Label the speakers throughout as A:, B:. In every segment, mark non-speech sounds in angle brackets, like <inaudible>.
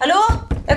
A: Hallo? Jeg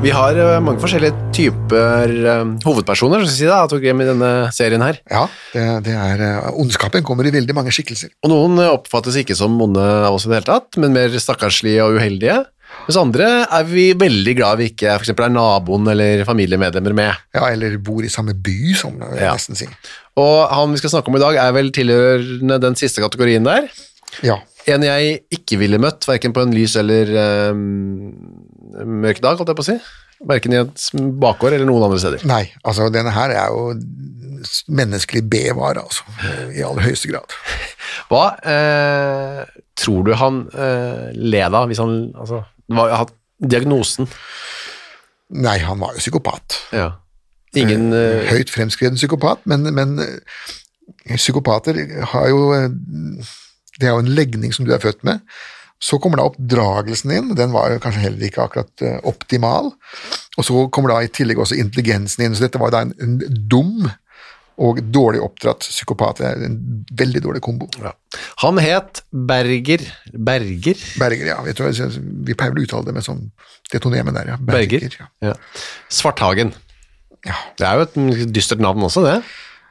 B: Vi har eh, mange forskjellige typer eh, hovedpersoner, skal vi si da, tok hjem i denne serien her.
C: Ja, det, det er eh, Ondskapen kommer i veldig mange skikkelser.
B: Og noen eh, oppfattes ikke som onde av oss i det hele tatt, men mer stakkarslige og uheldige. Mens andre er vi veldig glad vi ikke for eksempel er naboen eller familiemedlemmer med.
C: Ja, Eller bor i samme by, som jeg vil
B: Ja.
C: nesten si.
B: Og han vi skal snakke om i dag er vel tilhørende den siste kategorien der.
C: Ja,
B: En jeg ikke ville møtt, hverken på en lys eller eh, mørk dag, holdt jeg på å si. Hverken i et bakgård eller noen andre steder.
C: Nei, altså denne her er jo menneskelig bevare, altså. I aller høyeste grad.
B: Hva eh, tror du han eh, led av hvis han altså, hva, hatt diagnosen?
C: Nei, han var jo psykopat.
B: Ja. Ingen eh,
C: Høyt fremskreden psykopat, men, men eh, psykopater har jo eh, Det er jo en legning som du er født med. Så kommer da oppdragelsen din, den var jo kanskje heller ikke akkurat eh, optimal. Og så kommer da i tillegg også intelligensen inn, så dette var jo da en, en dum og dårlig oppdratt psykopat. Det er En veldig dårlig kombo.
B: Han het Berger Berger?
C: Berger, ja. Vet du, hva, jeg synes- vi pleier vel å uttale det med sånn detonemen der, ja.
B: Berger.
C: ja.
B: Ja. Svarthagen.
C: Ja.
B: Det er jo et dystert navn også, det.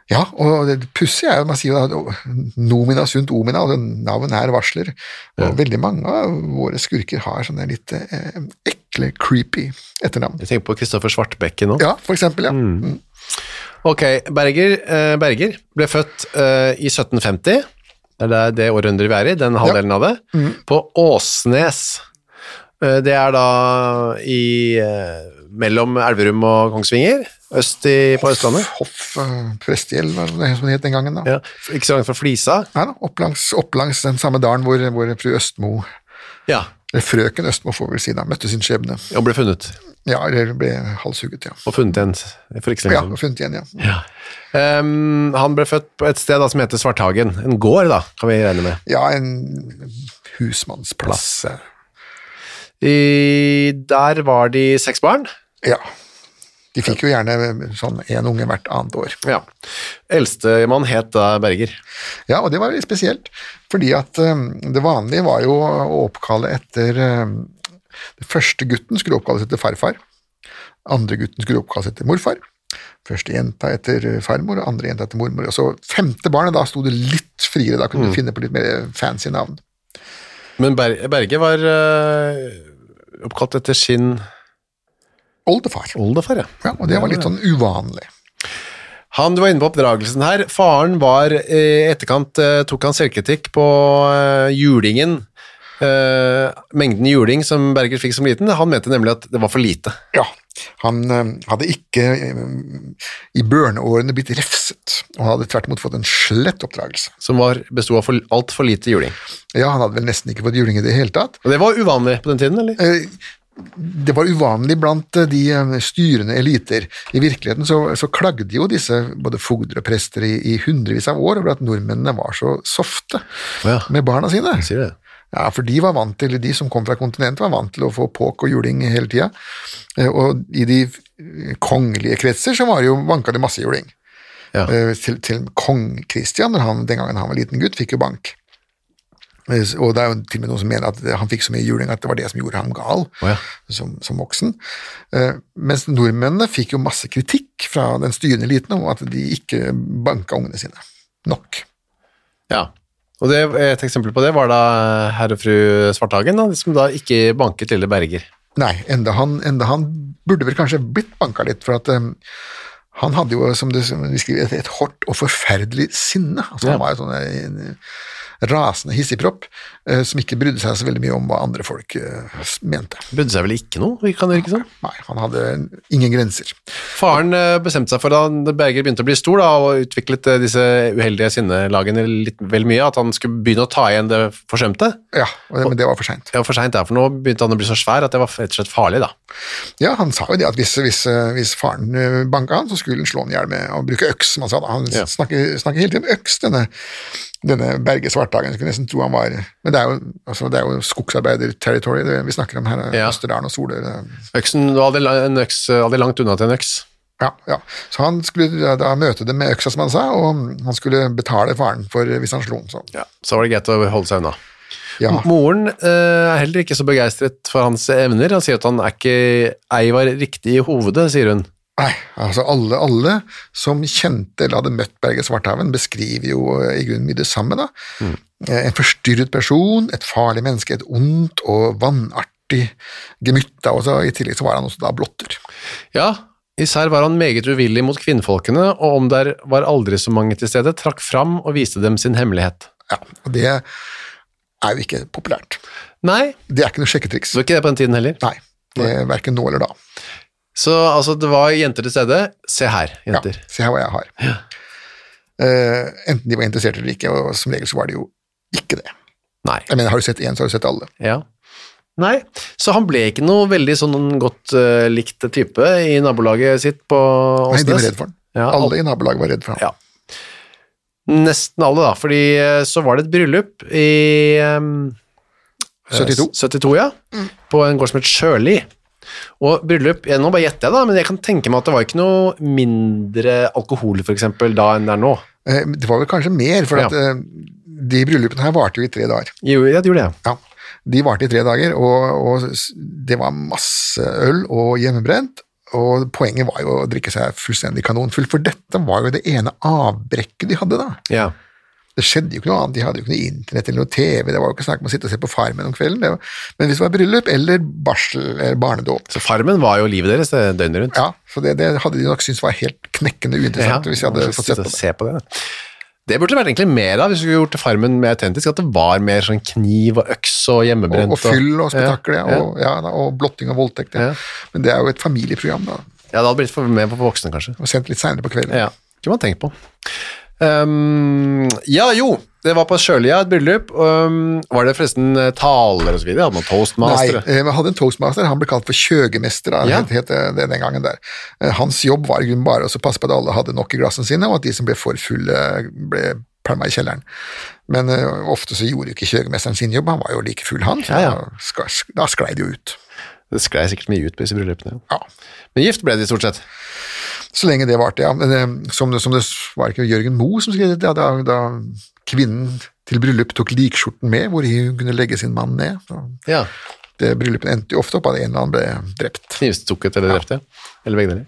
C: Ja, og det pussige er jo, man sier jo da, nomina sunt omina, og navn her varsler. Og veldig mange av våre skurker har sånne litt eh, ekle, creepy etternavn.
B: Jeg tenker på Kristoffer Svartbekke nå.
C: Ja, for eksempel, ja. Mm.
B: Ok, Berger, eh, Berger ble født eh, i 1750. Det er det- det århundret vi er i, den halvdelen av det. På Åsnes. Eh, det er da i eh, mellom Elverum og Kongsvinger, øst i, på Østlandet.
C: Hoff eh, Prestegjeld, hva det som det het den gangen da.
B: Ja, f- ikke så langt fra Flisa.
C: Nei da, opp langs, opp langs den samme dalen hvor, hvor fru Østmo,
B: Ja,
C: eller frøken Østmo får vi vel si da, møtte sin skjebne.
B: og ble funnet.
C: Ja, eller ble halshugget, ja.
B: Og funnet igjen for ikke så
C: Ja,
B: lenge siden.
C: og funnet igjen, ja.
B: Ja. Ehm, han ble født på et sted da, som heter Svarthagen. En gård, da, kan vi regne med.
C: Ja, en husmannsplass.
B: I, der var de seks barn.
C: Ja. De fikk jo gjerne sånn en unge hvert annet år.
B: Ja. Eldstemann het da Berger.
C: Ja, og det var litt spesielt, fordi at eh, det vanlige var jo å oppkalle etter eh, Den første gutten skulle oppkalles etter farfar, andre gutten skulle oppkalles etter morfar, første jenta etter eh, farmor, og andre jenta etter mormor, og så femte barnet, da sto det litt friere, da kunne du finne på litt mer fancy navn.
B: Men Ber Berge var øh, oppkalt etter sin
C: Oldefar.
B: oldefar, ja.
C: Ja, og det var litt sånn uvanlig.
B: Han du var inne på oppdragelsen her. Faren var eh, i etterkant eh, tok han selvkritikk på eh, julingen. Eh, mengden juling som Berger fikk som liten. Han mente nemlig at det var for lite.
C: Ja, han eh, hadde ikke eh, i børneårene blitt refset, og han hadde tvert imot fått en slett oppdragelse.
B: Som var, bestod av for, altfor lite juling.
C: Ja, han hadde vel nesten ikke fått juling i det hele tatt,
B: Og det var uvanlig på den tiden, eller?
C: Eh, det var uvanlig blant eh, de eh, styrende eliter. I virkeligheten så, så klagde jo disse både fogder og prester i, i hundrevis av år over at nordmennene var så softe
B: Ja.
C: med barna sine.
B: Sier det.
C: Ja, for de var vant til, de som kom fra kontinentet var vant til å få påk og juling hele tida. Eh, Og i de eh, kongelige kretser så var det jo, vanka det masse juling.
B: Ja.
C: Eh, Til, til kong Kristian, når han, den gangen han var liten gutt, fikk jo bank. Eh, s- Og det er jo til og med noen som mener at det- han fikk så mye juling at det var det som gjorde ham gal
B: Å ja.
C: som, som voksen. Eh, Mens nordmennene fikk jo masse kritikk fra den styrende eliten om at de ikke banka ungene sine nok.
B: Ja. Og det, et eksempel på det var da herr og fru Svarthagen, da, som da ikke banket lille Berger.
C: Nei, enda han, enda han burde vel kanskje blitt banka litt, for at eh, han hadde jo, som du som vi skriver, et, et hardt og forferdelig sinne. Altså, Han var jo sånn en, en rasende hissigpropp eh, som ikke brydde seg så veldig mye om hva andre folk eh, s- mente.
B: Brydde seg vel ikke noe, kan det virke som?
C: Nei, han hadde ingen grenser.
B: Faren eh, bestemte seg for da Berger begynte å bli stor da, og utviklet eh, disse uheldige sinnelagene litt vel mye, at han skulle begynne å ta igjen det forsømte.
C: Ja, og, Men det var for seint.
B: Ja, for sent der, for nå begynte han å bli så svær at det var rett og slett farlig da.
C: Ja, han sa jo det at hvis, hvis, eh, hvis faren banka han, så skulle han slå han i hjel med å bruke øks, som han sa da. Han
B: Ja.
C: snakker, snakker hele tiden om øks, denne, denne Berge Svarthagen. Skulle nesten tro han var Men det er jo, altså, det er jo skogsarbeiderterritory det vi snakker om her. eh,
B: Ja.
C: Østerdalen og Solør. eh, det-
B: Øksen, du var aldri, la- en øks, eh, aldri langt unna til en øks.
C: Ja, ja. Så han skulle da- da møte dem med øksa, som han sa, og han skulle betale faren for hvis han slo ham sånn.
B: Så var det greit å holde seg unna.
C: Ja.
B: Moren eh, er heller ikke så begeistret for hans evner. Han sier at han er ikke Eivar riktig i hovedet, sier hun.
C: Nei, altså alle, alle som kjente eller hadde møtt Berge Svarthaven, beskriver jo eh, i grunnen mye det samme. da.
B: Mm.
C: Eh, En forstyrret person, et farlig menneske, et ondt og vanartig gemytta. Og så, I tillegg så var han også da blotter.
B: Ja, især var han meget uvillig mot kvinnfolkene, og om der var aldri så mange til stede, trakk fram og viste dem sin hemmelighet.
C: Ja, Og det er jo ikke populært.
B: Nei,
C: Det er ikke noe
B: det
C: sjekketriks.
B: var ikke det på den tiden heller.
C: Nei, det er verken nå eller da.
B: Så altså, det var jenter til stede. Se her,
C: Ja,
B: jenter.
C: se her hva jeg har. Eh, enten de var interessert eller ikke, og som regel så var det jo ikke det.
B: Nei.
C: Jeg mener, Har du sett én, så har du sett alle.
B: Ja. Nei, så han ble ikke noe veldig sånn godt eh, likt type i nabolaget sitt på
C: Nei, de var
B: Åsnes.
C: redd for han.
B: Ja, al-
C: Alle i nabolaget var redd for han.
B: Ja. Nesten alle, da. Fordi eh, så var det et bryllup i eh,
C: 72.
B: 72, ja. På en gård som het Sjøli. Og bryllup ja, Nå bare gjetter jeg, da, men jeg kan tenke meg at det var ikke noe mindre alkohol for eksempel, da enn det er nå.
C: Eh, Det var vel kanskje mer, for
B: Ja.
C: at eh, de bryllupene her varte jo i tre dager.
B: Jo, ja, det gjorde jeg.
C: Ja, De varte i tre dager, og, og s- det var masse øl og hjemmebrent. Og poenget var jo å drikke seg fullstendig kanonfull, for dette var jo det ene avbrekket de hadde da.
B: Ja.
C: Det skjedde jo ikke noe annet, de hadde jo ikke noe internett eller noe TV, det var jo ikke snakk om å sitte og se på Farmen om kvelden. Det var, men hvis det var bryllup eller barsel eller barnedåp,
B: Så Farmen var jo livet deres det døgnet rundt.
C: ja, så det, det hadde de nok syntes var helt knekkende uinteressant hvis de hadde
B: sitte
C: fått sett
B: og
C: på det.
B: se på det. da. Det burde det vært egentlig mer av hvis vi skulle gjort Farmen mer autentisk. At det var mer sånn kniv og øks og
C: Og,
B: hjemmebrent.
C: og fyll og spetakkel, ja,
B: ja.
C: og, ja, da, og blotting og voldtekt. Ja.
B: Ja.
C: Men det er jo et familieprogram, da.
B: Ja, det hadde blitt for mer på voksne, kanskje.
C: Og sendt litt seinere på kvelden.
B: Ja, kunne man tenkt på. Ehm, ja, jo, det var på Sjølia, et bryllup. Ehm, var det forresten eh, taler og så videre? Hadde man
C: Nei,
B: toastmaster?
C: eh, men hadde en toastmaster, han ble kalt for kjøgemester, da,
B: Ja.
C: het, het det den gangen der. Eh, Hans jobb var i grunnen bare å så passe på at alle hadde nok i glassene sine, og at de som ble for fulle, ble pælma i kjelleren. Men eh, ofte så gjorde jo ikke kjøgemesteren sin jobb, han var jo like full, han. så
B: Ja, ja.
C: Da, sk- da sklei det jo ut.
B: Det sklei sikkert mye ut på disse bryllupene.
C: Ja.
B: Men gift ble de stort sett.
C: Så lenge det varte, ja. Men eh, som det, som det var ikke Jørgen Moe som skrev det, ja, da, da kvinnen til bryllup tok likskjorten med, hvor hun kunne legge sin mann ned. Så
B: Ja.
C: det bryllupet endte jo ofte opp at en eller annen ble drept.
B: Knivstukket eller drept, ja. Eller begge deler.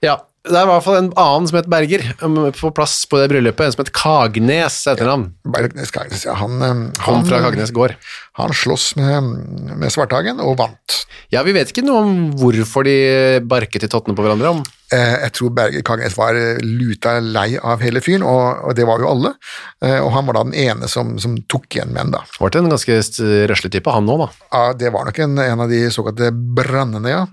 B: Ja, det var i hvert fall en annen som het Berger, um, på plass på det bryllupet. En som het Kagnes, etternavn.
C: Berg- jeg skal ikke si, Han, eh,
B: Kom
C: han,
B: fra Kagnes gård.
C: han sloss med, med Svarthagen og vant.
B: Ja, vi vet ikke noe om hvorfor de barket i tottene på hverandre. om.
C: Eh, Jeg tror Berger Kagnes var eh, luta lei av hele fyren, og, og det var jo alle. Eh, Og han var da den ene som, som tok igjen menn, da.
B: Var det en ganske st- røslig type, han nå, da.
C: Ja, det var nok en, en av de såkalte brannene, ja.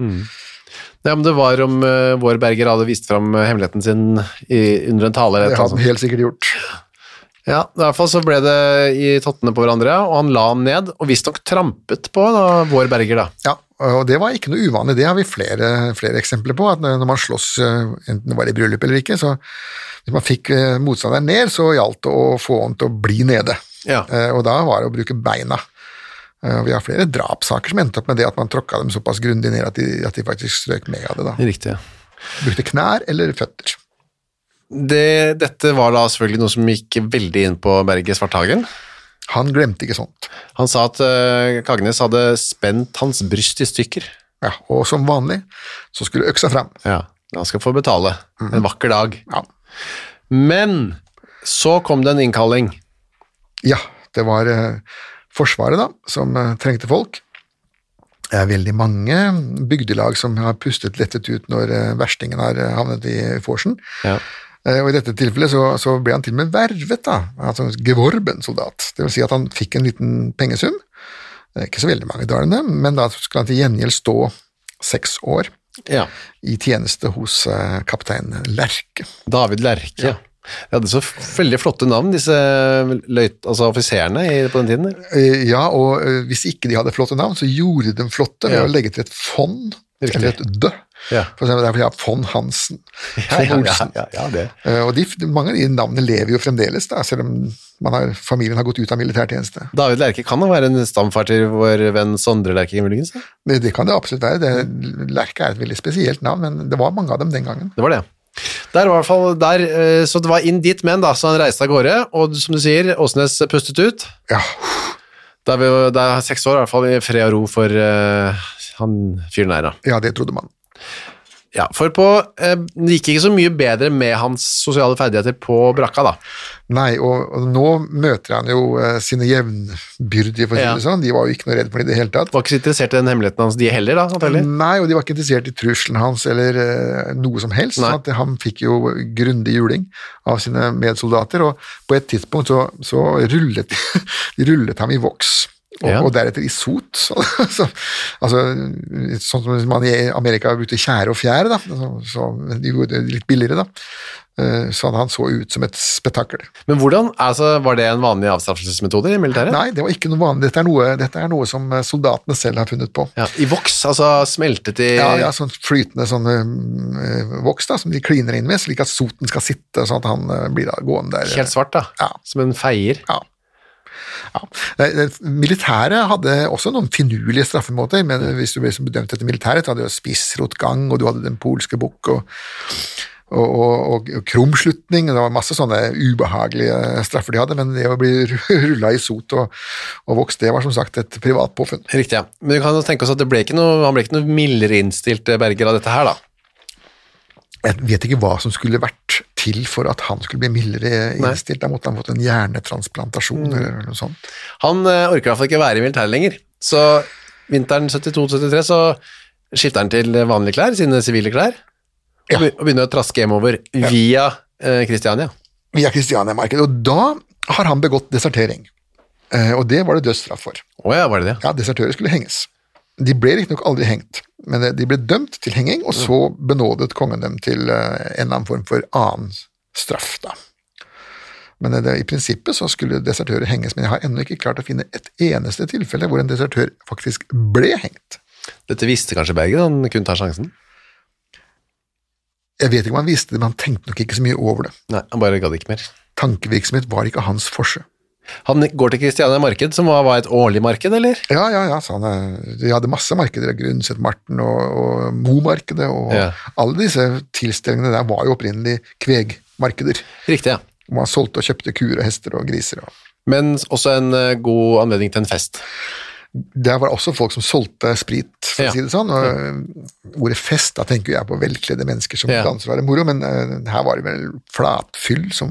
B: Ja, men det var om eh, vår Berger hadde vist fram eh, hemmeligheten sin i, under en tale. Eller
C: Det
B: et eller
C: hadde
B: annet
C: han helt sikkert gjort.
B: sånt. ja, I hvert fall så ble det i tottene på hverandre, og han la han ned, og visstnok trampet på da, vår Berger, da.
C: Ja, Og det var ikke noe uvanlig, det har vi flere, flere eksempler på. At når man slåss, eh, enten det var i bryllup eller ikke, så hvis man fikk eh, motstanderen ned, så gjaldt det å få han til å bli nede.
B: Ja.
C: Eh, Og da var det å bruke beina. Eh, og Vi har flere drapssaker som endte opp med det at man tråkka dem såpass grundig ned at de, at de faktisk strøk med av det. da.
B: Riktig.
C: Brukte knær eller føtter.
B: Det, dette var da selvfølgelig noe som gikk veldig inn på Berge Svarthagen.
C: Han glemte ikke sånt.
B: Han sa at eh, Kagnes hadde spent hans bryst i stykker.
C: Ja, og som vanlig så skulle øksa fram.
B: Ja, han skal få betale. En vakker dag.
C: Ja.
B: Men så kom det en innkalling.
C: Ja, det var eh, Forsvaret da, som eh, trengte folk. Det er veldig mange bygdelag som har pustet lettet ut når eh, verstingen har eh, havnet i vorsen.
B: Ja.
C: Eh, Og I dette tilfellet så, så ble han til og med vervet, da. Altså gevorben-soldat. Det vil si at han fikk en liten pengesum. Det er Ikke så veldig mange dalene, men da skulle han til gjengjeld stå seks år
B: Ja.
C: i tjeneste hos eh, kaptein Lerke.
B: David Lerche. De hadde så f- veldig flotte navn, disse løyt, altså offiserene i- på den tiden. der.
C: Eh, Ja, og eh, hvis ikke de hadde flotte navn, så gjorde de dem flotte ved
B: Ja.
C: å legge til et fond,
B: Riktig.
C: eller et dø.
B: Ja.
C: For eksempel derfor jeg har Fond Hansen, Fond Olsen.
B: <laughs> ja, ja, det.
C: Eh, Og de, mange av de navnene lever jo fremdeles, da, selv om man har, familien har gått ut av militærtjeneste.
B: David Lerche kan jo være en stamfar til vår venn Sondre Lerche, muligens. da?
C: Det, det kan det absolutt være. Det, Lerke er et veldig spesielt navn, men det var mange av dem den gangen.
B: Det var det. Der var i hvert fall der, eh, så det var inn dit men da, så han reiste av gårde, og som du sier, Åsnes pustet ut.
C: Ja,
B: Da er, vi, da er seks år i hvert fall i fred og ro for eh, han fyren der da.
C: ja det trodde man.
B: Ja, for på, eh, det gikk ikke så mye bedre med hans sosiale ferdigheter på brakka da.
C: Nei, og, og nå møter han jo eh, sine jevnbyrdige, for å si
B: Ja.
C: det sånn. De var jo ikke noe redd for det i det hele tatt.
B: Var ikke så interessert i den hemmeligheten hans de heller da, antagelig.
C: Nei, og de var ikke interessert i trusselen hans eller eh, noe som helst.
B: Nei.
C: Sånn at han fikk jo grundig juling av sine medsoldater, og på et tidspunkt så, så rullet <laughs> de rullet ham i voks. Og,
B: Ja.
C: og deretter i sot. <laughs> Så, så, altså, sånn som man i Amerika brukte tjære og fjær, da. Så, så de gjorde det litt billigere, da. Eh, Sånn han så ut som et spetakkel.
B: Men hvordan, altså, var det en vanlig avstraffelsesmetode i militæret?
C: Nei, det var ikke noe vanlig. Dette er noe, dette er noe som soldatene selv har funnet på.
B: Ja, I voks, altså smeltet i
C: Ja, ja, sånn flytende sånn øhm, øh, voks da, som de kliner inn med, slik at soten skal sitte, sånn at han øh, blir da gående der.
B: helt svart da,
C: Ja.
B: som en feier.
C: Ja. ja. Nei, det- Militæret hadde også noen finurlige straffemåter, men hvis du ble så bedømt etter militæret, så hadde du jo spissrotgang, og du hadde den polske bukk, og, og, og, og, og krumslutning, og det var masse sånne ubehagelige straffer de hadde, men det å bli <laughs> rullet i sot og, og voks, det var som sagt et privat påfunn.
B: Riktig, ja. Men vi kan jo tenke oss at det ble ikke noe, han ble ikke noe mildere innstilt eh, Berger av dette her da.
C: Jeg vet ikke hva som skulle vært til for at han skulle bli mildere innstilt. Da måtte han fått en hjernetransplantasjon eller noe sånt.
B: Han eh, orker i hvert fall ikke være i militæret lenger. Så vinteren 72-73 så skifter han til vanlige klær, sine sivile klær, og be- og begynner å traske hjemover via eh, Kristiania.
C: Via Kristiania-markedet. Og da har han begått desertering. Eh, Og det var det dødsstraff for.
B: Å ja, var det det?
C: Ja, desertører skulle henges. De ble riktignok aldri hengt, men eh, de ble dømt til henging, og så benådet kongen dem til eh, en eller annen form for annen straff, da. Men eh, det, i prinsippet så skulle desertører henges, men jeg har ennå ikke klart å finne et eneste tilfelle hvor en desertør faktisk ble hengt.
B: Dette visste kanskje Berger, han kunne ta sjansen.
C: Jeg vet ikke om han visste det, men han tenkte nok ikke så mye over det.
B: Nei, han bare gadd ikke mer.
C: Tankevirksomhet var ikke hans forse.
B: Han går til Kristiania marked, som var var et årlig marked, eller?
C: Ja, ja, ja, sa han. eh, De hadde masse markeder, Grundset Marten og, og Mo-markedet, og
B: Ja.
C: alle disse tilstelningene der var jo opprinnelig kvegmarkeder.
B: Riktig, ja.
C: Hvor man solgte og kjøpte kuer og hester og griser. Og.
B: Men også en eh, god anledning til en fest.
C: Der var det også folk som solgte sprit, for
B: Ja.
C: å si det sånn. Og eh, ordet fest, da tenker jeg på velkledde mennesker som
B: Ja.
C: danser og har det moro, men eh, her var det vel flatfyll som,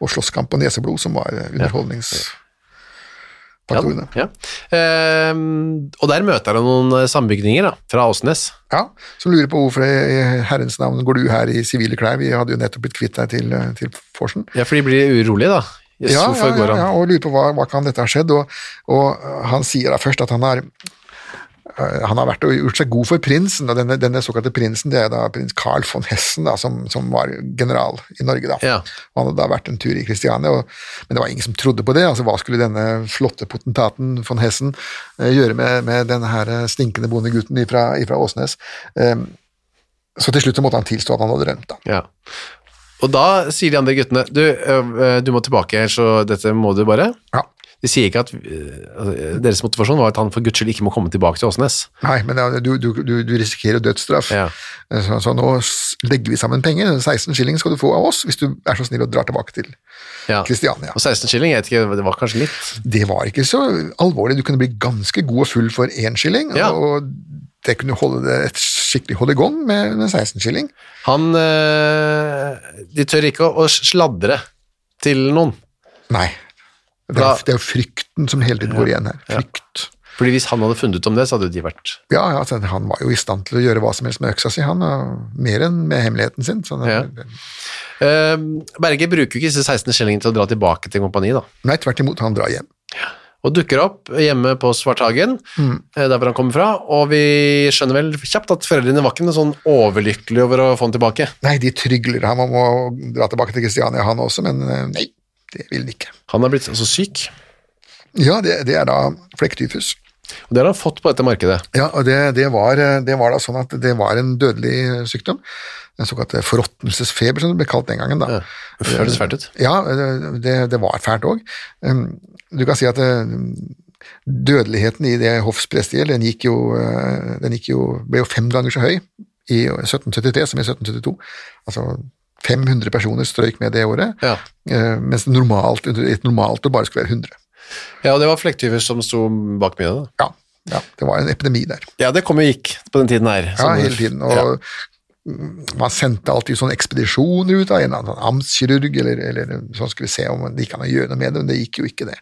C: og slåsskamp og neseblod som var eh, underholdningsfaktorene.
B: Ja, ja. Eh, og der møter han noen eh, sambygninger da, fra Åsnes.
C: Ja, som lurer på hvorfor i herrens navn går du her i sivile klær, vi hadde jo nettopp blitt kvitt deg til, eh, til Forsen.
B: Ja, for de blir urolige da. Yes,
C: Ja, ja,
B: hvorfor
C: ja,
B: går han?
C: ja, og lurer på hva, hva kan dette ha skjedd, og, og han sier da først at han har eh, han har vært og gjort seg god for prinsen, og denne, denne såkalte prinsen, det er da prins Carl von Hessen, da, som, som var general i Norge da.
B: Ja.
C: Og han hadde da vært en tur i Kristiania, og, men det var ingen som trodde på det. Altså, hva skulle denne flotte potentaten von Hessen eh, gjøre med, med denne her eh, stinkende bondegutten ifra, ifra Åsnes? Eh, så til slutt så måtte han tilstå at han hadde rømt, da.
B: Ja. Og da sier de andre guttene du, øh, du må tilbake, så dette må du bare.
C: Ja.
B: De sier ikke at øh, altså, Deres motivasjon var at han for guds skyld ikke må komme tilbake til Åsnes.
C: Nei, men det er- du, du, du, du risikerer dødsstraff.
B: Ja.
C: Eh, Så, så nå s- legger vi sammen penger. 16 skilling skal du få av oss hvis du er så snill og drar tilbake til
B: Ja. Altså-
C: Kristiania.
B: Og 16 skilling, jeg vet ikke, det var kanskje litt.
C: Det var ikke så alvorlig. Du kunne bli ganske god og full for én skilling,
B: Ja.
C: og det kunne holde det et skikkelig hold i gang med, med 16 skilling.
B: Han øh, De tør ikke å, å sladre til noen.
C: Nei. Det
B: Da-
C: er, det er jo frykten som hele tiden går igjen her. Frykt.
B: Fordi hvis han hadde funnet ut om det, så hadde jo de vært
C: Ja, ja altså, han var jo i stand til å gjøre hva som helst med øksa si, han. Og mer enn med hemmeligheten sin. Så det,
B: Ja. Eh, Berger bruker jo ikke disse 16 skillingene til å dra tilbake til kompani, da.
C: Nei, tvert imot, han drar hjem.
B: Og dukker opp hjemme på Svarthagen,
C: Mm.
B: eh, der hvor han kommer fra, og vi skjønner vel kjapt at foreldrene var ikke noe sånn overlykkelige over å få han tilbake.
C: Nei, de trygler ham om å dra tilbake til Kristiania, han også, men eh, nei, det vil han ikke.
B: Han er blitt så syk,
C: Ja, det, det er da flekktyfus.
B: og det har han fått på dette markedet.
C: Ja, og det, det, var, eh, det var da sånn at det var en dødelig sykdom. En såkalt forråtnelsesfeber, som det ble kalt den gangen. da.
B: Uff, det høres fælt ut.
C: Ja, det- det, det var fælt òg. Du kan si at eh, dødeligheten i det hoffsprestegjeld, den, gikk jo, eh, den gikk jo, ble jo fem ganger så høy i 1773 som i 1772. Altså 500 personer strøyk med det året,
B: Ja.
C: eh, mens det normalt, i et normalt år bare skulle være 100.
B: Ja, og det var flekktyver som sto bak mye av det.
C: Ja, ja, det var en epidemi der.
B: Ja, det kom og gikk på den tiden her.
C: Ja,
B: Som-
C: hele tiden. Og mm,
B: Ja.
C: man sendte alltid sånne ekspedisjoner ut av en eller annen sånn amtskirurg, eller, eller som skulle se om det gikk an å gjøre noe med det, men det gikk jo ikke det.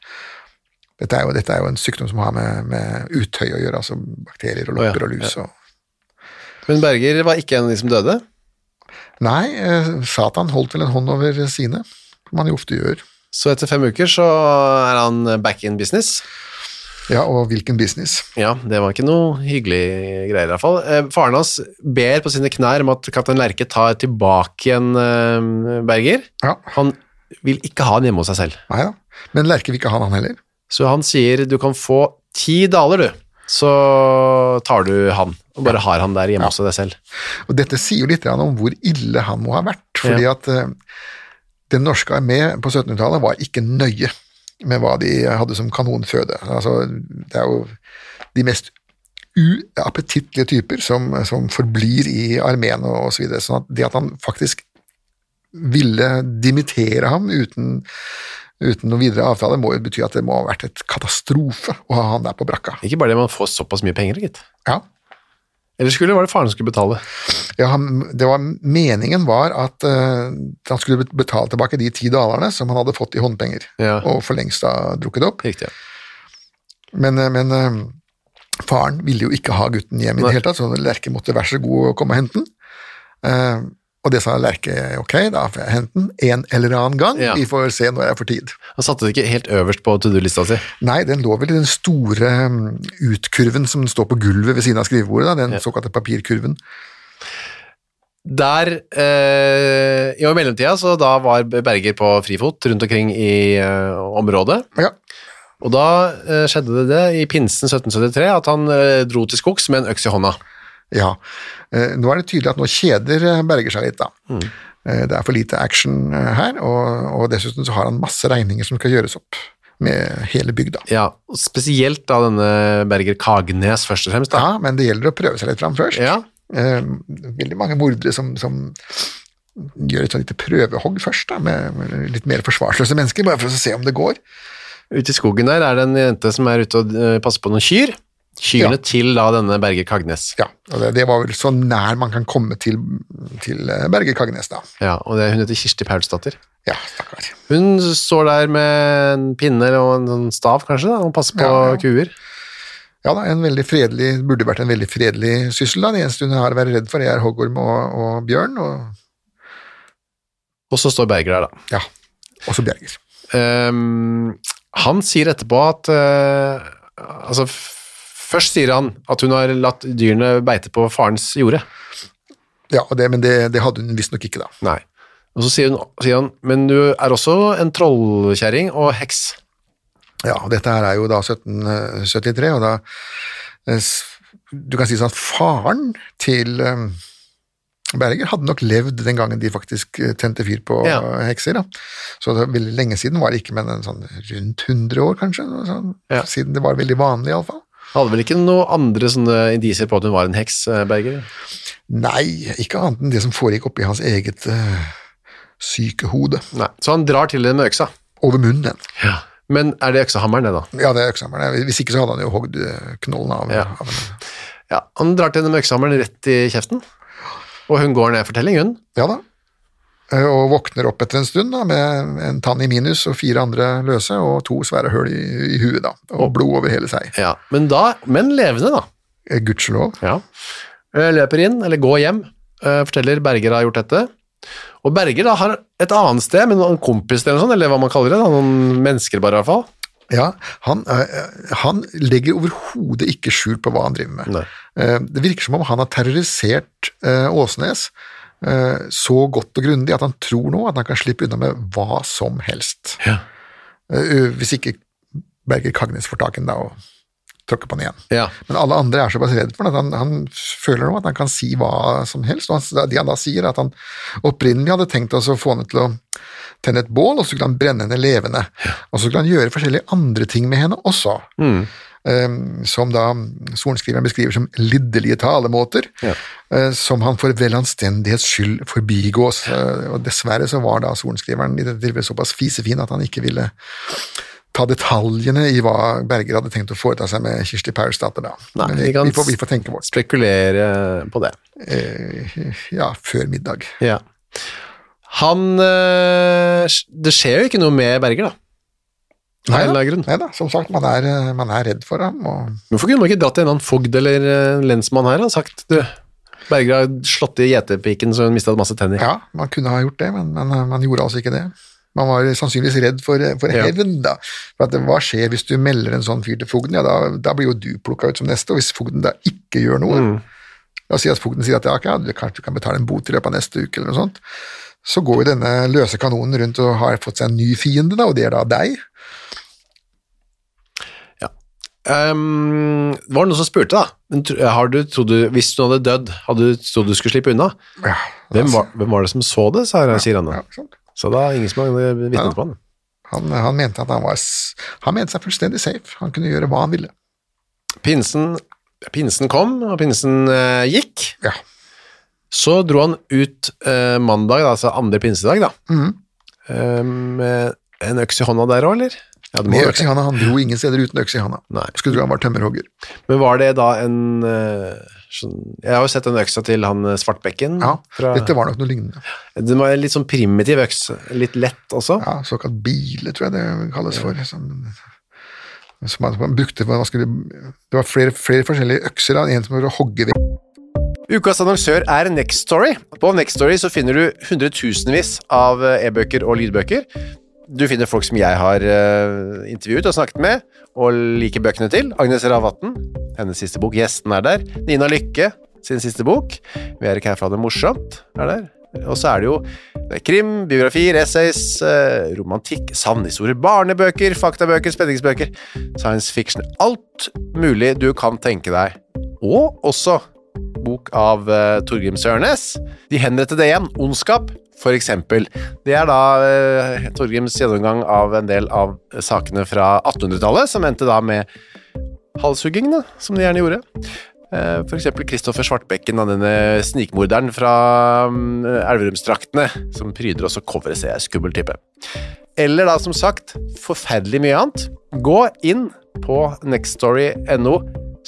C: Dette er jo, dette er jo en sykdom som har med, med uttøy å gjøre, altså bakterier
B: Å
C: og
B: ja,
C: lopper og lus. Og...
B: Men Berger var ikke en av de som døde.
C: Nei, eh, Satan holdt vel en hånd over sine, som han jo ofte gjør.
B: Så etter fem uker så er han back in business.
C: Ja, og hvilken business.
B: Ja, det var ikke noe hyggelig greier i hvert fall. Eh, Faren hans ber på sine knær om at kaptein Lerke tar tilbake igjen eh, Berger.
C: Ja,
B: Han vil ikke ha han hjemme hos seg selv.
C: nei da. Men Lerke vil ikke ha han, han heller.
B: Så han sier du kan få ti daler, du. Så tar du han, og bare har han der hjemme hos deg selv.
C: Og dette sier jo litt grann om hvor ille han må ha vært, fordi
B: Ja.
C: at eh, den norske armé på 1700-tallet var ikke nøye med hva de hadde som kanonføde. Altså, det er jo de mest uappetittlige typer som, som forblir i armeen og osv. Så videre. sånn at det at han faktisk ville dimittere ham uten, uten noen videre avtale, må jo bety at det må ha vært et katastrofe å ha han der på brakka.
B: Ikke bare det, man får såpass mye penger, gitt.
C: Ja.
B: Eller skulle var det faren som skulle betale?
C: Ja, han, det var, meningen var at eh, han skulle bet- betale tilbake de ti dalerne som han hadde fått i håndpenger,
B: Ja.
C: og for lengst da drukket opp.
B: Riktig. ja.
C: Men, eh, men eh, faren ville jo ikke ha gutten hjem i
B: Nei.
C: det hele tatt, så Lerke måtte være så god å komme og hente den. Eh, og det sa Lerke ok, da får jeg hente den en eller annen gang,
B: Ja.
C: vi får se når jeg får tid.
B: Han satte det ikke helt øverst på to do-lista si.
C: Nei, den lå vel i den store mm, utkurven som står på gulvet ved siden av skrivebordet, da, den såkalte papirkurven.
B: Der, eh, ja, I mellomtida så da var Berger på frifot rundt omkring i eh, området.
C: Ja,
B: Og da eh, skjedde det det i pinsen 1773 at han eh, dro til skogs med en øks i hånda.
C: Ja. Eh, Nå er det tydelig at nå kjeder eh, Berger seg litt, da. Eh, Det er for lite action eh, her, og, og dessuten så har han masse regninger som skal gjøres opp med hele bygda.
B: Ja, og Spesielt da denne Berger Kagenes, først og fremst. da.
C: Ja, men det gjelder å prøve seg litt fram først.
B: Ja.
C: Eh, Veldig mange mordere som, som gjør et sånt lite prøvehogg først, da, med med litt mer forsvarsløse mennesker, bare for å se om det går.
B: Ute i skogen der er det en jente som er ute og eh, passer på noen kyr. Kyrne
C: Ja.
B: til da denne Berger Kagenes.
C: Ja, og det, det var vel så nær man kan komme til, til eh, Berger Kagnes, da.
B: Ja, og det, Hun heter Kirsti Paulsdatter.
C: Ja, stakkar.
B: Hun står der med en pinne og en sånn stav kanskje da, og passer på
C: Ja, ja.
B: kuer.
C: Ja da, en veldig fredelig, burde vært en veldig fredelig syssel. da. Det eneste hun har å være redd for, det er hoggorm og, og bjørn, og,
B: Og så står Berger der, da.
C: ja, og så bjerger.
B: Ehm, han sier etterpå at eh, altså, f- Først sier han at hun har latt dyrene beite på farens jorde.
C: Ja, og det, men det, det hadde hun visstnok ikke, da.
B: Nei. Og så sier, hun, sier han, men du er også en trollkjerring og heks.
C: Ja, og dette her er jo da 1773, og da eh, s- Du kan si sånn at faren til eh, Berger hadde nok levd den gangen de faktisk eh, tente fyr på
B: Ja.
C: eh, hekser. Da. Så det er veldig lenge siden var det ikke, men en sånn rundt 100 år, kanskje. noe Sånn,
B: Ja.
C: Siden det var veldig vanlig, iallfall.
B: Han hadde vel ikke noen andre sånne indisier på at hun var en heks, eh, Berger?
C: Nei, ikke annet enn det som foregikk oppi hans eget eh, syke hode.
B: Nei. Så han drar til henne med øksa.
C: Over munnen.
B: Men er det øksehammeren, det, da?
C: Ja, det er øksehammeren. Hvis ikke så hadde han jo hogd eh, knollen av.
B: Ja.
C: av henne.
B: Ja, Han drar til henne med øksehammeren rett i kjeften, og hun går ned fortelling, hun.
C: Ja da. Eh, Og våkner opp etter en stund da, med en tann i minus og fire andre løse, og to svære høl i, i huet, da, og blod over hele seg.
B: Ja, Men da, men levende, da.
C: Eh, Gudskjelov.
B: Ja. Eh, Løper inn, eller går hjem, eh, forteller Berger har gjort dette. Og Berger da har et annet sted, med noen kompiser eller noe sånt, eller hva man kaller det, da, noen mennesker bare i hvert fall.
C: Ja, han, eh, han legger overhodet ikke skjul på hva han driver med.
B: Nei.
C: Eh, Det virker som om han har terrorisert eh, Åsnes eh, så godt og grundig at han tror nå at han kan slippe unna med hva som helst.
B: Ja.
C: Eh, Hvis ikke Berger Kagnes får tak i den da og tråkker på den igjen.
B: Ja.
C: Men alle andre er såpass redd for det at han, han føler nå at han kan si hva som helst. Og han, de han da sier, er at han opprinnelig hadde tenkt også å få henne til å tenne et bål, og så skulle han brenne henne levende. Og så skulle han gjøre forskjellige andre ting med henne også. Eh, som da sorenskriveren beskriver som lidderlige talemåter, eh, som han for vel anstendighets skyld forbigås. Eh, og dessverre så var da sorenskriveren i dette tilfellet såpass fisefin at han ikke ville ta detaljene i hva Berger hadde tenkt å foreta seg med Kirsti Paulsdatter da.
B: Nei,
C: Men
B: vi
C: vi,
B: kan
C: vi, får, vi får tenke vårt.
B: Spekulere på det.
C: Ja, før middag.
B: Ja. Han eh, Det skjer jo ikke noe med Berger, da. Nei,
C: Neida,
B: det er grunn.
C: neida, som sagt, man er, eh, man er redd for ham, og
B: Hvorfor kunne man ikke dratt til en annen fogd eller eh, lensmann her og sagt du, Berger har slått i gjetepiken så hun mista masse tenner.
C: ja, man kunne ha gjort det, men, men eh, man gjorde altså ikke det. Man var sannsynligvis redd for, eh, for
B: Ja.
C: hevn, da. For at, hva skjer hvis du melder en sånn fyr til fogden? Ja, da, da blir jo du plukka ut som neste, og hvis fogden da ikke gjør noe
B: Mm.
C: La oss si at fogden sier at ja, ok, ja, du, kanskje du kan betale en bot i løpet av neste uke, eller noe sånt. Så går jo denne løse kanonen rundt og har fått seg en ny fiende, da, og det er da deg.
B: Ehm, det var noen som spurte, da. Men tro- Har du, trodd du, hvis hun hadde dødd, hadde du trodd du skulle slippe unna?
C: Ja,
B: Hvem
C: altså,
B: var, hvem var det som så det, sa han, sier han.
C: ja,
B: da.
C: ikke sant?
B: Så da er ingen som har eh, vitnet på han.
C: Han, han mente at han var s- Han mente seg fullstendig safe. Han kunne gjøre hva han ville.
B: Pinsen, pinsen kom, og pinsen eh, gikk.
C: Ja.
B: Så dro han ut eh, mandag, da, altså andre pinsedag, da.
C: Mhm.
B: Eh, med en øks i hånda der òg, eller? Ja, det må
C: Med
B: jo
C: øks i
B: det.
C: handa. Han dro ingen steder uten øks i handa.
B: Nei.
C: Skulle tro han var tømmerhogger.
B: Men var det da en eh, sånn, Jeg har jo sett den øksa til han eh, Svartbekken.
C: Ja,
B: fra-
C: Dette var nok noe lignende.
B: Den var en litt sånn primitiv øks. Litt lett også.
C: Ja, Såkalt bile, tror jeg det kalles for. Som, som man, man brukte for man skulle, Det var flere, flere forskjellige økser. Da. En som var å hogge ved.
B: Ukas annonsør er Next Story. På Next Story så finner du hundretusenvis av eh, e-bøker og lydbøker. Du finner folk som jeg har eh, intervjuet og snakket med, og liker bøkene til. Agnes Ravatn, hennes siste bok. Gjesten er der. Nina Lykke, sin siste bok. Vi er ikke her for å ha det morsomt, er der. Og så er det jo det er krim, biografier, essays, eh, romantikk, sannhistorier, barnebøker, faktabøker, spenningsbøker, science fiction. Alt mulig du kan tenke deg. Og også bok av uh, Torgrim Sørnes. De henrettede igjen, Ondskap, for eksempel. Det er da eh, Torgrims gjennomgang av en del av sakene fra 1800-tallet, som endte da med halshuggingene, som de gjerne gjorde. Eh, For eksempel Kristoffer Svartbekken, da, denne snikmorderen fra mm, Elverumsdraktene, som pryder også coveret, ser jeg, skummel type. Eller da, som sagt, forferdelig mye annet. Gå inn på nextstory.no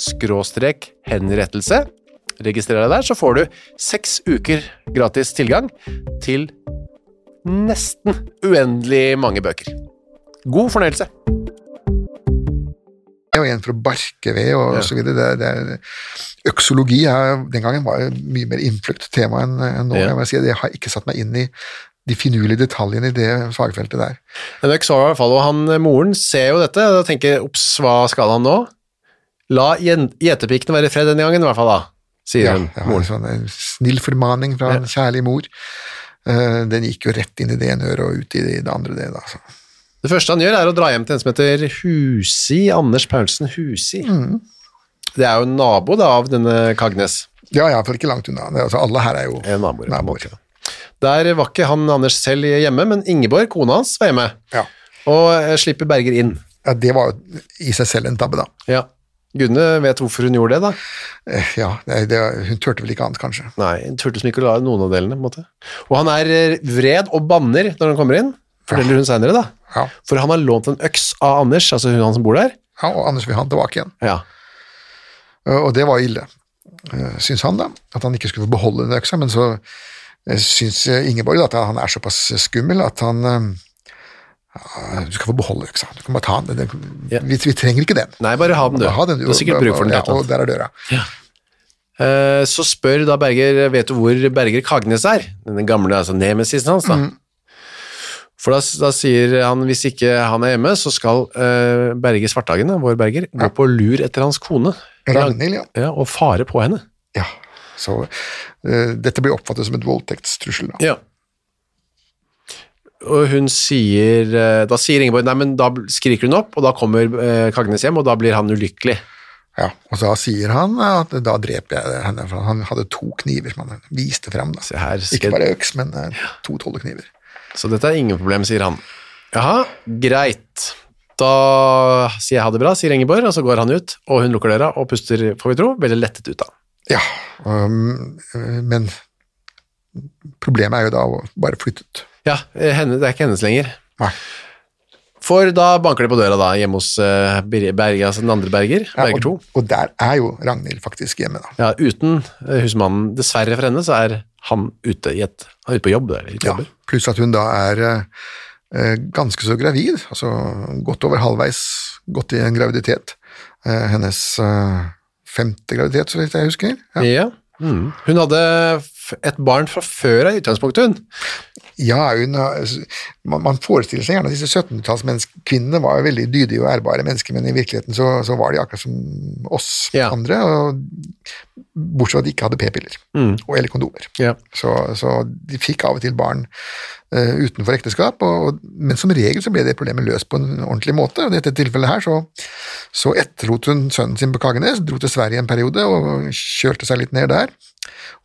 B: skråstrek henrettelse. Registrer deg der, så får du seks uker gratis tilgang til nesten uendelig mange bøker. God fornøyelse.
C: og en for å barke ved og
B: Ja.
C: så videre. Det, er- det er, øksologi er, den gangen var jo mye mer innfløkt tema enn enn nå.
B: Ja.
C: Jeg, må si, jeg har ikke satt meg inn i de finurlige detaljene i det fagfeltet der.
B: Men det er ikke så i hvert fall, og han, moren ser jo dette og tenker, opps, hva skal han nå? La gjen- gjetepikkene være i fred denne gangen, i hvert fall da, sier
C: Ja,
B: hun.
C: det var en
B: Moren.
C: sånn en snill formaning fra en kjærlig mor. Eh, Den gikk jo rett inn i det ene øret og ut i det andre. Det, da, så.
B: Det første han gjør, er å dra hjem til en som heter Husi, Anders Paulsen Husi.
C: Mm.
B: Det er jo en nabo da, av denne Kagnes.
C: Ja, ja, for ikke langt unna. Det, er altså, alle her er jo
B: Eh, naboer. på en måte. Der var ikke han Anders selv hjemme, men Ingeborg, kona hans, var hjemme.
C: Ja.
B: Og eh, slipper Berger inn.
C: Ja, det var jo i seg selv en tabbe, da.
B: Ja. Gunne vet hvorfor hun gjorde det, da.
C: Eh, Ja, det, det, Hun turte vel ikke annet, kanskje.
B: Nei, hun turte som ikke å la noen av delene. på en måte. Og han er eh, vred og banner når han kommer inn, forteller hun seinere, da.
C: Ja.
B: For han har lånt en øks av Anders, altså hun han som bor der.
C: ja, Og Anders vil ha han tilbake igjen.
B: Ja.
C: Eh, Og det var ille, eh, syns han, da. At han ikke skulle få beholde den øksa. Men så eh, syns eh, Ingeborg da, at han er såpass skummel at han eh, ja, Du skal få beholde øksa. Du kan bare ta den. den.
B: Ja.
C: Vi, vi trenger ikke den.
B: Nei, bare ha den, du.
C: Bare ha den,
B: Du har sikkert bruk for den.
C: Ja,
B: til et eller
C: og
B: annet.
C: der er døra.
B: Eh, Så spør da Berger Vet du hvor Berger Kagnes er? Den gamle altså nemesisen hans, da.
C: Mm.
B: For da, da sier han hvis ikke han er hjemme, så skal eh, Berger Svarthagen, da, vår Berger, gå på lur etter hans kone
C: Ragnhild, ja.
B: ja, og fare på henne.
C: ja. Så eh, dette blir oppfattet som et voldtektstrussel. Da.
B: Og hun sier eh, Da sier Ingeborg Nei, men da skriker hun opp, og da kommer eh, Kagnes hjem, og da blir han ulykkelig.
C: Ja, og da sier han at da dreper jeg henne, for han hadde to kniver som han viste frem. Da.
B: Se her,
C: Ikke
B: skal...
C: bare øks, men eh, to tollekniver.
B: Så dette er ingen problem, sier han. Jaha, greit. Da sier jeg ha det bra, sier Ingeborg, og så går han ut, og hun lukker døra og puster, får vi tro, veldig lettet ut da.
C: Ja, um, eh, men problemet er jo da å bare flytte ut.
B: Ja, eh, henne, det er ikke hennes lenger.
C: Nei.
B: For da banker det på døra da, hjemme hos eh, Bir- Berger, altså den andre Berger,
C: Ja,
B: Berger 2.
C: og, og der er jo Ragnhild faktisk hjemme, da.
B: Ja, uten eh, husmannen, dessverre for henne, så er han ute, i et, han er ute på jobb. Der, ute
C: Ja,
B: jobber.
C: pluss at hun da er eh, eh, ganske så gravid, altså godt over halvveis gått i en graviditet. Eh, hennes eh, femte graviditet, så vidt jeg husker. Ja,
B: Ja. Mm. Hun hadde f- et barn fra før av i utgangspunktet, hun.
C: ja hun, har- altså, man, man forestiller seg gjerne at disse 1700-tallskvinnene var jo veldig dydige og ærbare mennesker, men i virkeligheten så, så var de akkurat som oss
B: Ja.
C: andre, og, bortsett fra at de ikke hadde p-piller og eller kondomer.
B: Mm. Ja.
C: Så, så de fikk av og til barn eh, utenfor ekteskap, og, og, men som regel så ble det problemet løst på en ordentlig måte. og I dette tilfellet her så, så etterlot hun sønnen sin på Kagernes, dro til Sverige en periode og kjølte seg litt ned der.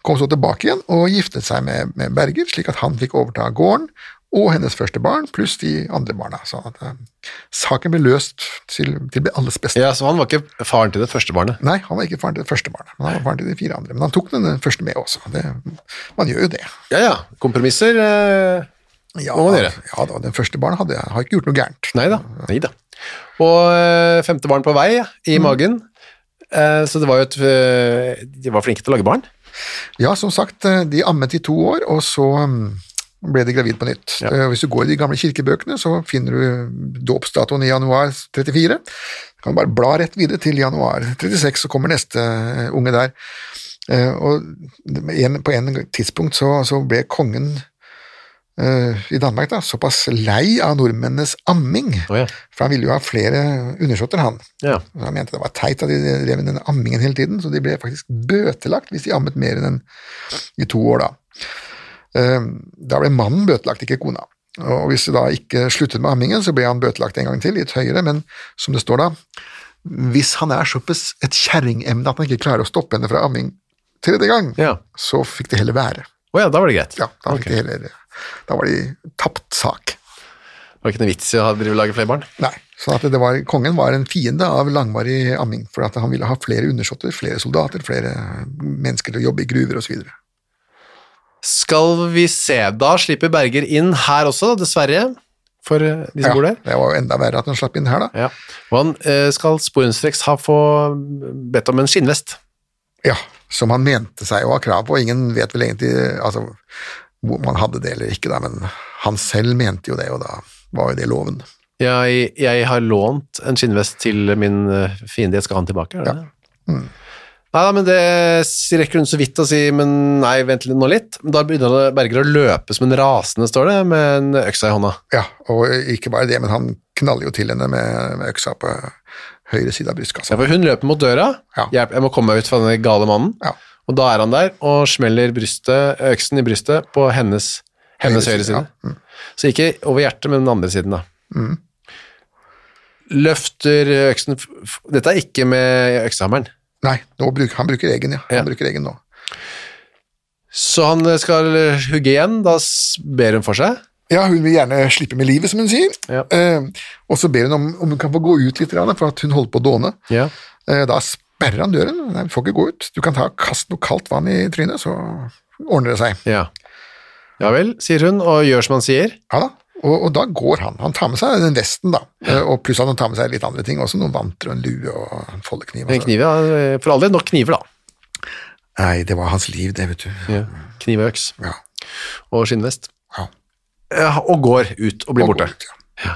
C: Kom så tilbake igjen og giftet seg med, med Berger, slik at han fikk overta gården og hennes første barn, pluss de andre barna. Så at, eh, saken ble løst til, til alles beste.
B: ja, så han var ikke faren til det første barnet.
C: Nei, han var ikke faren til det første barnet, men han var faren til de fire andre. Men han tok den første med også. Det, man gjør jo det.
B: Ja, ja, kompromisser... Eh
C: Ja,
B: Hva må dere?
C: ja da, den første barnet hadde jeg, har ikke gjort noe gærent.
B: Nei da. Mm. Og eh, femte barn på vei i magen. Eh, Så det var jo et eh, De var flinke til å lage barn.
C: Ja, som sagt, eh, de ammet i to år, og så mm, ble de gravid på nytt.
B: Ja.
C: Eh, Hvis du går i de gamle kirkebøkene, så finner du dåpsdatoen i januar 34. Du kan bare bla rett videre til januar 36, så kommer neste eh, unge der. Eh, Og en- på en tidspunkt så, så ble kongen eh, i Danmark da, såpass lei av nordmennenes amming,
B: Å ja.
C: for han ville jo ha flere undersåtter, han.
B: Ja.
C: Og Han mente det var teit at de drev med den ammingen hele tiden, så de ble faktisk bøtelagt hvis de ammet mer enn en i to år, da. Eh, Da ble mannen bøtelagt, ikke kona. Og hvis de da ikke sluttet med ammingen, så ble han bøtelagt en gang til, litt høyere, men som det står da, hvis han er såpass et kjerringemne at han ikke klarer å stoppe henne fra amming tredje gang,
B: Ja.
C: så fikk det heller være.
B: Å ja, da var det greit.
C: Ja, da, fikk
B: Ok.
C: det heller, da var de tapt sak.
B: Det var ikke noe vits i å ha- drive og lage flere barn.
C: Nei, så at det var, kongen var en fiende av langvarig amming, for at han ville ha flere undersåtter, flere soldater, flere mennesker til å jobbe i gruver osv.
B: Skal vi se, da slipper Berger inn her også, dessverre, for eh, de som
C: Ja,
B: bor der.
C: det var jo enda verre at han slapp inn her, da.
B: Ja. Og han eh, skal sporenstreks ha få bedt om en skinnvest.
C: Ja, Som han mente seg å ha krav på, og ingen vet vel egentlig altså, hvor man hadde det eller ikke, da, men han selv mente jo det, og da var jo det loven.
B: Jeg, jeg har lånt en skinnvest til min eh, fiende, jeg skal ha den tilbake. Er det det? Nei, nei, men det s- rekker hun så vidt å si, men nei, vent litt nå litt. Men Da begynner det- Berger å løpe som en rasende, står det, med en øksa i hånda.
C: Ja, Og ikke bare det, men han knaller jo til henne med, med øksa på høyre side av brystkassa.
B: Ja, for hun løper mot døra.
C: Ja.
B: Hjelp, jeg må komme meg ut fra denne gale mannen.
C: Ja.
B: Og da er han der og smeller brystet, øksen i brystet på hennes, hennes høyre side.
C: Mm.
B: Mm. Så ikke over hjertet, men den andre siden, da. Løfter øksen f- f- Dette er ikke med øksehammeren.
C: Nei, nå bruker, han bruker egen, ja. Han
B: Ja.
C: bruker egen nå.
B: Så han eh, skal hugge igjen. Da s- ber hun for seg.
C: Ja, hun vil gjerne slippe med livet, som hun sier.
B: Ja.
C: Eh, og så ber hun om, om hun kan få gå ut litt, grann, for at hun holder på å dåne.
B: Ja.
C: Eh, da sperrer han døren. Nei, du får ikke gå ut. Du kan ta kast noe kaldt vann i trynet, så ordner det seg.
B: Ja, ja vel, sier hun, og gjør som han sier.
C: Ja da. Og, og da går han. Han tar med seg den vesten, da. Eh, og pluss at han tar med seg litt andre ting også. Noen vanter og en lue og en foldekniv.
B: En
C: altså.
B: kniv, ja. eh, For all del, nok kniver, da.
C: Nei, det var hans liv, det, vet du.
B: Ja. Kniv og øks
C: Ja.
B: og skinnvest.
C: Ja.
B: Ja, og går ut og blir
C: Og
B: borte.
C: går ut, ja.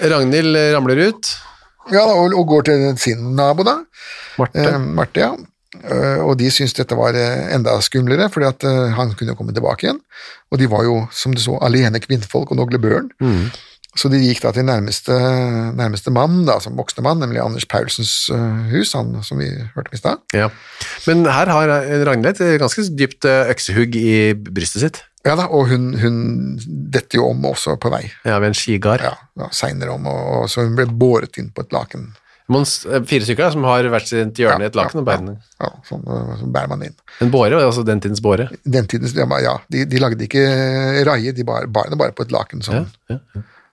B: Ragnhild eh, ramler ut.
C: Ja, da, og, og går til sin nabo, da.
B: Marte.
C: Eh, Marte, ja. Eh, og de syntes dette var eh, enda skumlere, fordi at eh, han kunne komme tilbake igjen. Og de var jo, som du så, alene kvinnfolk og noglebørn.
B: Mm.
C: Så de gikk da til nærmeste, nærmeste mann, da, som voksne mann, nemlig Anders Paulsens eh, hus, han som vi hørte om i stad.
B: Ja. Men her har eh, Ragnhild et ganske dypt eh, øksehugg i brystet sitt.
C: Ja da, og hun, hun detter jo om også på vei.
B: Ja, ved en skigard.
C: Ja, ja Seinere om, og, og så hun ble båret inn på et laken.
B: Man s- eh, Fire stykker da, som har hvert sitt hjørne i et laken og bærer den.
C: Ja, ja, sånn, eh, så bærer man inn.
B: En båre, altså den tidens båre.
C: Den tidens, ja, ja de, de lagde ikke raie, de bar, bar det bare på et laken, sånn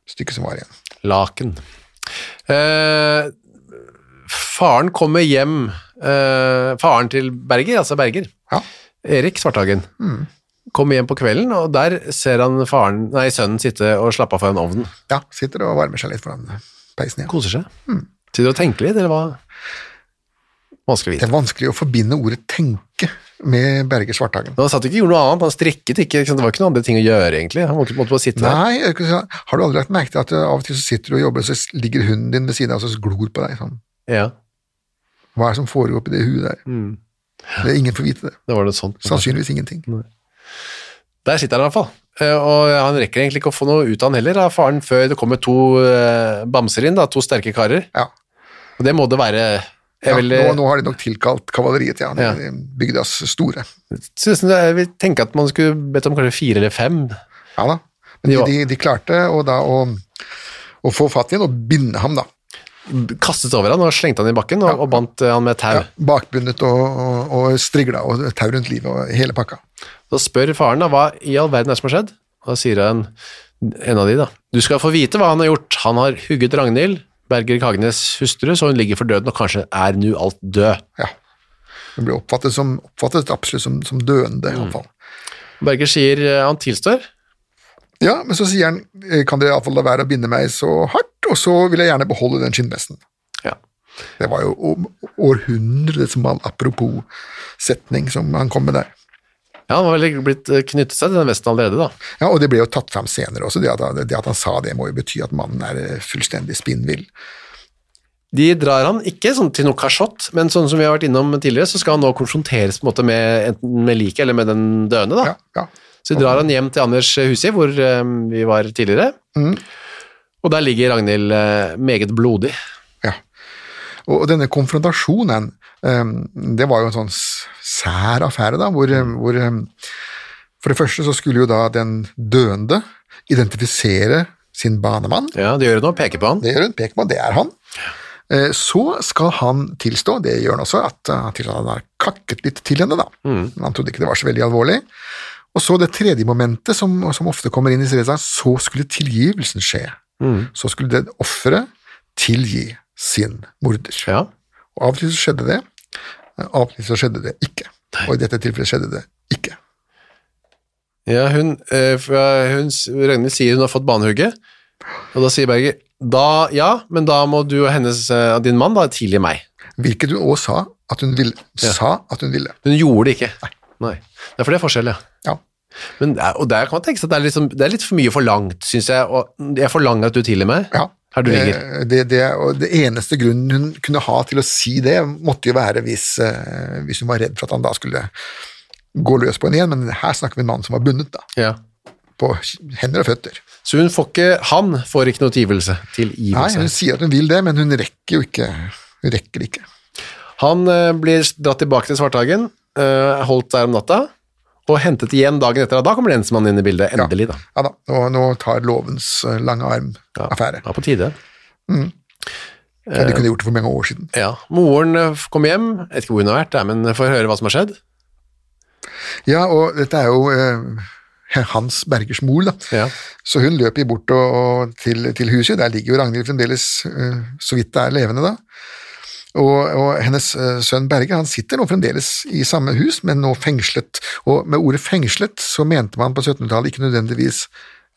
C: stykke som var igjen.
B: Laken. Eh, faren kommer hjem, eh, faren til Berger, altså Berger,
C: Ja.
B: Erik Svarthagen, kommer hjem på kvelden, og der ser han faren, nei, sønnen sitte og slappe av foran ovnen.
C: Ja, sitter og varmer seg litt foran peisen igjen.
B: Koser seg. Mm. Sitter og tenker litt, eller hva? Vanskelig å
C: Det
B: vite.
C: er vanskelig å forbinde ordet tenke med Berger Svarthagen.
B: Men han satt ikke og gjorde noe annet, han strikket ikke, ikke sant? det var ikke noen andre ting å gjøre egentlig. Han måtte måtte bare sitte der.
C: Nei, jeg kan ikke si- har du aldri lagt merke til at eh, av og til så sitter du og jobber, og så ligger hunden din ved siden av og så glor på deg sånn.
B: Ja,
C: Hva er det som foregår oppi det huet der?
B: Mm.
C: Det er ingen får vite det.
B: det var noe sånt.
C: Sannsynligvis ingenting.
B: Mm. Der sitter han i hvert fall. Eh, Og han rekker egentlig ikke å få noe ut av han heller, av faren, før det kommer to eh, bamser inn, da, to sterke karer.
C: Ja.
B: Og det må det være.
C: Ja,
B: Jeg vil, eh,
C: nå, nå har de nok tilkalt kavaleriet, ja.
B: Ja.
C: ja. Bygdas store.
B: synes det- jeg vil tenke at man skulle bedt om kanskje fire eller fem.
C: Ja da. Men de,
B: Ja.
C: de, de klarte å da å, å få fatt i ham og binde ham, da.
B: Kastet over han og slengte han i bakken og, og bandt eh, han med et tau.
C: Ja, bakbundet og, og, og strigla og tau rundt livet og hele pakka.
B: Da spør faren da, hva i all verden er det som har skjedd? Og da sier han, en av de da, du skal få vite hva han har gjort. Han har hugget Ragnhild, Berger Kagnes hustru, så hun ligger for døden og kanskje er nu alt død.
C: Ja. Hun ble oppfattet, som, oppfattet absolutt som, som døende, i hvert fall.
B: Berger sier eh, han tilstår.
C: Ja, men så sier han eh, kan dere iallfall la være å binde meg så hardt, og så vil jeg gjerne beholde den skinnvesten.
B: Ja.
C: Det var jo om- århundret som han apropos setning som han kom med der.
B: Ja, han var vel blitt eh, knyttet seg til den vesten allerede da.
C: Ja, Og det ble jo tatt fram senere også, det at, han- det at han sa det må jo bety at mannen er eh, fullstendig spinnvill.
B: De drar han ikke sånn til noe kasjott, men sånn som vi har vært innom tidligere, så skal han nå konfronteres på en måte med enten med liket eller med den døende. Da.
C: Ja, ja.
B: Så de drar han hjem til Anders Husi, hvor eh, vi var tidligere. Og der ligger Ragnhild eh, meget blodig.
C: Ja. Og og denne konfrontasjonen, ehm, det var jo en sånn s- sær affære, da, hvor, ehm, hvor ehm, For det første så skulle jo da den døende identifisere sin banemann.
B: Ja, det gjør hun nå, peker på han.
C: Det gjør hun, peker på, det er han. Eh, Så skal han tilstå, det gjør han også, at eh, han tilstår at han har kakket litt til henne, da. Men Han trodde ikke det var så veldig alvorlig. Og så det tredje momentet som, som ofte kommer inn i Sreza, så skulle tilgivelsen skje. Så skulle det offeret tilgi sin morder.
B: Ja.
C: Og av og til så skjedde det, eh, av og til så skjedde det ikke. Og i dette tilfellet skjedde det ikke.
B: Ja, hun, eh, for, eh, hun s- Ragnhild sier hun har fått banehugget, og da sier Berger da, ja, men da må du og hennes, eh, din mann da, tilgi meg.
C: Hvilket hun også sa at hun ville. Sa at hun ville.
B: Hun gjorde det ikke. Nei. Det er for det er forskjell, ja.
C: Ja.
B: Men, det er- og der kan man tenke seg at det er, liksom, det er litt for mye forlangt, syns jeg. Og jeg forlanger at du tilgir meg
C: ja.
B: her du ligger.
C: Eh, Det, det, og det eneste grunnen hun kunne ha til å si det, måtte jo være hvis, eh, hvis hun var redd for at han da skulle gå løs på henne igjen, men her snakker vi om en mann som var bundet, da.
B: Ja.
C: På hender og føtter.
B: Så hun får ikke, han får ikke noe tilgivelse. Tilgivelse.
C: Nei, hun sier at hun vil det, men hun rekker jo ikke Hun rekker det ikke.
B: Han eh, blir dratt tilbake til Svarthagen, eh, holdt der om natta, og hentet igjen dagen etter. Da kommer lensmannen inn i bildet, endelig da.
C: Ja da, nå, nå tar lovens eh, lange arm
B: Ja, Eh.
C: affære.
B: Ja, på tide.
C: Ja, de kunne gjort det for mange år siden.
B: Ja, moren eh, kom hjem, jeg vet ikke hvor hun har vært, der, men eh, får høre hva som har skjedd.
C: Ja, og dette er jo eh, Hans Bergers mor, da.
B: Ja.
C: Så hun løper jo bort og, og til, til huset. Der ligger jo Ragnhild fremdeles, eh, så vidt det er levende, da. Og, og hennes eh, sønn Berge han sitter nå fremdeles i samme hus, men nå fengslet. Og med ordet fengslet så mente man på 1700-tallet ikke nødvendigvis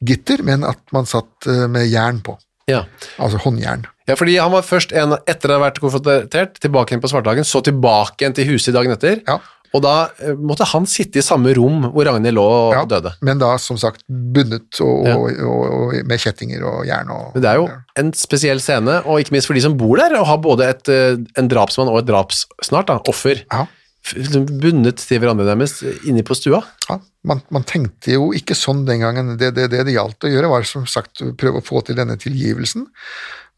C: gitter, men at man satt eh, med jern på.
B: Ja.
C: Altså håndjern.
B: ja, fordi han var først en, etter å ha vært konfrontert, tilbake igjen på Svarthagen, så tilbake igjen til huset dagen etter,
C: Ja.
B: og da eh, måtte han sitte i samme rom hvor Ragnhild lå og
C: Ja,
B: døde.
C: Men da som sagt bundet og,
B: Ja.
C: og, og, og med kjettinger og jern og
B: Men det er jo en spesiell scene, og ikke minst for de som bor der, og har både et, eh, en drapsmann og et draps, snart da, offer,
C: Ja.
B: f- liksom bundet til hverandre nærmest eh, inne på stua.
C: Ja, man, man tenkte jo ikke sånn den gangen. Det det, det det gjaldt å gjøre, var som sagt å prøve å få til denne tilgivelsen,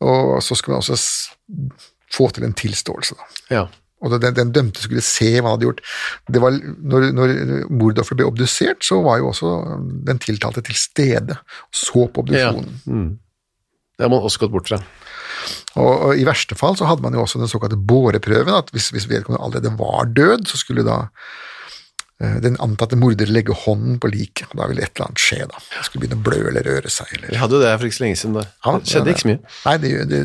C: og så skulle man også s- få til en tilståelse. Da.
B: Ja.
C: Og den, den dømte skulle se hva han hadde gjort. Det var, når når mordofferet ble obdusert, så var jo også den tiltalte til stede og så på
B: Ja.
C: obduksjonen.
B: Mm. Det har man også gått bort fra.
C: Og, og I verste fall så hadde man jo også den såkalte båreprøven, at hvis, hvis vedkommende allerede var død, så skulle da eh, den antatte morder legge hånden på liket, og da ville et eller annet skje. da. Det skulle begynne å blø eller røre seg. eller...
B: Vi hadde jo det for ikke så lenge siden. Da.
C: Ja,
B: det skjedde
C: ja,
B: ikke så mye.
C: Nei, det, gjør- det,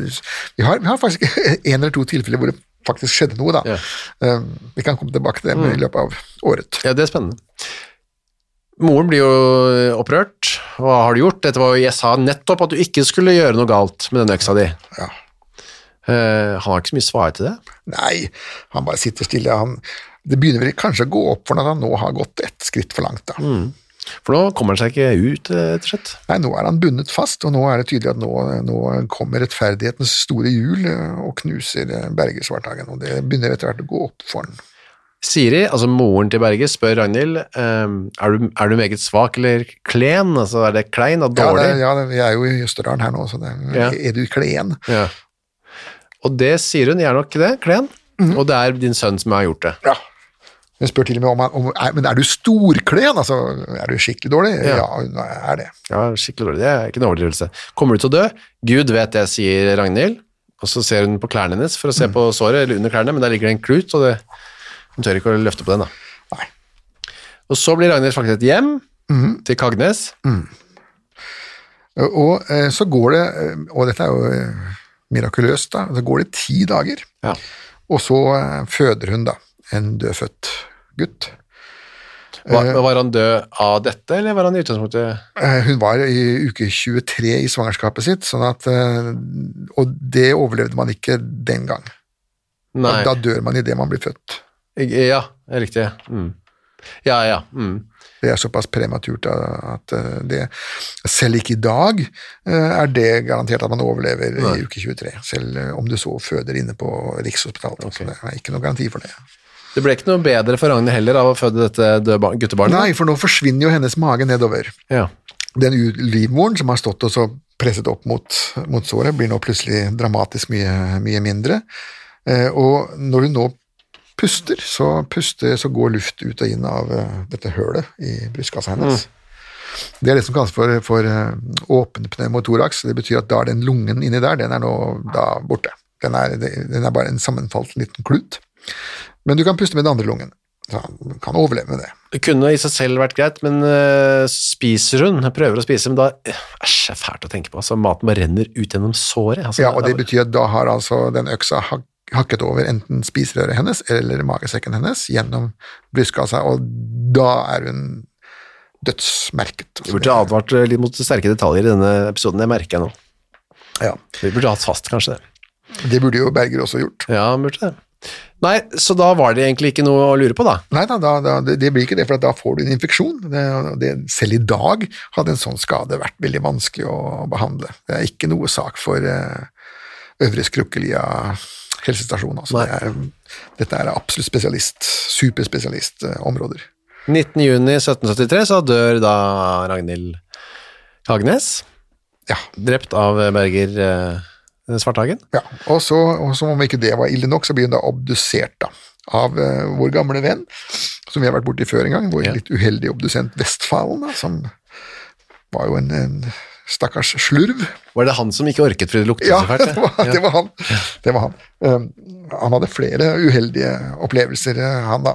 C: vi, har, vi har faktisk <laughs> en eller to tilfeller hvor det faktisk skjedde noe, da.
B: Ja. Mm.
C: Eh, vi kan komme tilbake til det i løpet av året.
B: Ja, det er spennende. Moren blir jo eh, opprørt. Hva har du gjort? Dette var jo, jeg sa nettopp at du ikke skulle gjøre noe galt med den øksa di.
C: Ja.
B: Eh, han har ikke så mye svar til det.
C: Nei, han bare sitter stille. Han, det begynner vel kanskje å gå opp for ham at han nå har gått ett skritt for langt. da.
B: For nå kommer han seg ikke ut, eh, rett og slett.
C: Nei, nå er han bundet fast, og nå er det tydelig at nå, nå kommer rettferdighetens store hjul eh, og knuser eh, Berger Svarthagen. Og det begynner etter hvert å gå opp for han.
B: Siri, altså moren til Berge, spør Ragnhild ehm, er, du, er du meget svak eller klen? Altså, er det klein og
C: Ja, det,
B: dårlig?
C: ja, det- vi er jo i Østerdalen her nå, så det,
B: Ja.
C: er du klen?
B: Ja. Og det sier hun, jeg er nok det, klen.
C: Mhm.
B: Og det er din sønn som har gjort det.
C: Ja. Hun spør til og med om han om, er, Men er du storklen? Altså, er du skikkelig dårlig?
B: Ja.
C: Ja, hun er det.
B: Ja, skikkelig dårlig, det er ikke en overdrivelse. Kommer du til å dø? Gud vet det, sier Ragnhild. Og så ser hun på klærne hennes for å
C: Mhm.
B: se på såret, eller under klærne, men der ligger det en klut, og det, hun tør ikke å løfte på den da.
C: Nei. Mhm.
B: Og så blir Ragnhild fraktet hjem til Kagnes.
C: Og eh, så går det eh, Og dette er jo eh, mirakuløst, da. Så går det ti dager,
B: Ja.
C: og så eh, føder hun da en dødfødt gutt.
B: Var, var han død av dette, eller var han i utgangspunktet...
C: Eh, Hun var i uke 23 i svangerskapet sitt, sånn at, eh, og det overlevde man ikke den gang.
B: Nei.
C: Da dør man idet man blir født.
B: Ja, det er riktig. Mm. Ja, ja. Mm.
C: Det er såpass prematurt eh, at eh, det Selv ikke i dag eh, er det garantert at man overlever i uke 23, selv eh, om du så føder inne på Rikshospitalet. Så det er ikke noen garanti for det.
B: Det ble ikke noe bedre for Ragnhild heller av å føde dette døde bar- guttebarnet.
C: Nei, for nå forsvinner jo hennes mage nedover.
B: Ja.
C: Den u- livmoren som har stått og så presset opp mot, mot såret, blir nå plutselig dramatisk mye, mye mindre. Eh, og når hun nå puster, så, puster, så går luft ut og inn av eh, dette hølet i brystkassa hennes. Det er det som kalles for, for eh, åpen pneumotoraks. Det betyr at da er den lungen inni der, den er nå da borte. Den er, den er bare en sammenfalt liten klut. Men du kan puste med den andre lungen. Så han kan overleve med det.
B: Det kunne i seg selv vært greit, men øh, spiser hun, prøver å spise, men da eh, Æsj, det er fælt å tenke på. Altså, maten bare renner ut gjennom såret. Altså,
C: Ja, og det betyr at da har altså den øksa hak- hakket over enten spiserøret hennes eller magesekken hennes gjennom brystkassa, og da er hun dødsmerket.
B: Vi burde advart øh, litt mot sterke detaljer i denne episoden, det merker jeg nå.
C: Ja,
B: Vi burde hatt fast, kanskje det.
C: det burde jo Berger også gjort.
B: Ja, burde det. Nei, så da var det egentlig ikke noe å lure på, da.
C: Nei da, da, da det, det blir ikke det, for at da får du en infeksjon. Det, det, selv i dag hadde en sånn skade vært veldig vanskelig å behandle. Det er ikke noe sak for eh, Øvre Skrukkelia helsestasjon. Altså.
B: Nei.
C: Det er, dette er absolutt spesialist, eh, superspesialistområder.
B: 19. juni 1773 så dør da Ragnhild Hagnes,
C: Ja,
B: drept av eh, Berger øh, eh, Svarthagen.
C: Ja, og, så, og som om ikke det var ille nok, så blir hun da obdusert da, av eh, vår gamle venn, som vi har vært borti før en gang, vår
B: Ja.
C: litt uheldige obdusent Vestfalen, da, som var jo en, en stakkars slurv.
B: Var det han som ikke orket fordi det luktet
C: Ja,
B: så fælt?
C: <laughs> det var, det var han. Det var han. Um, han hadde flere uheldige opplevelser, eh, han da.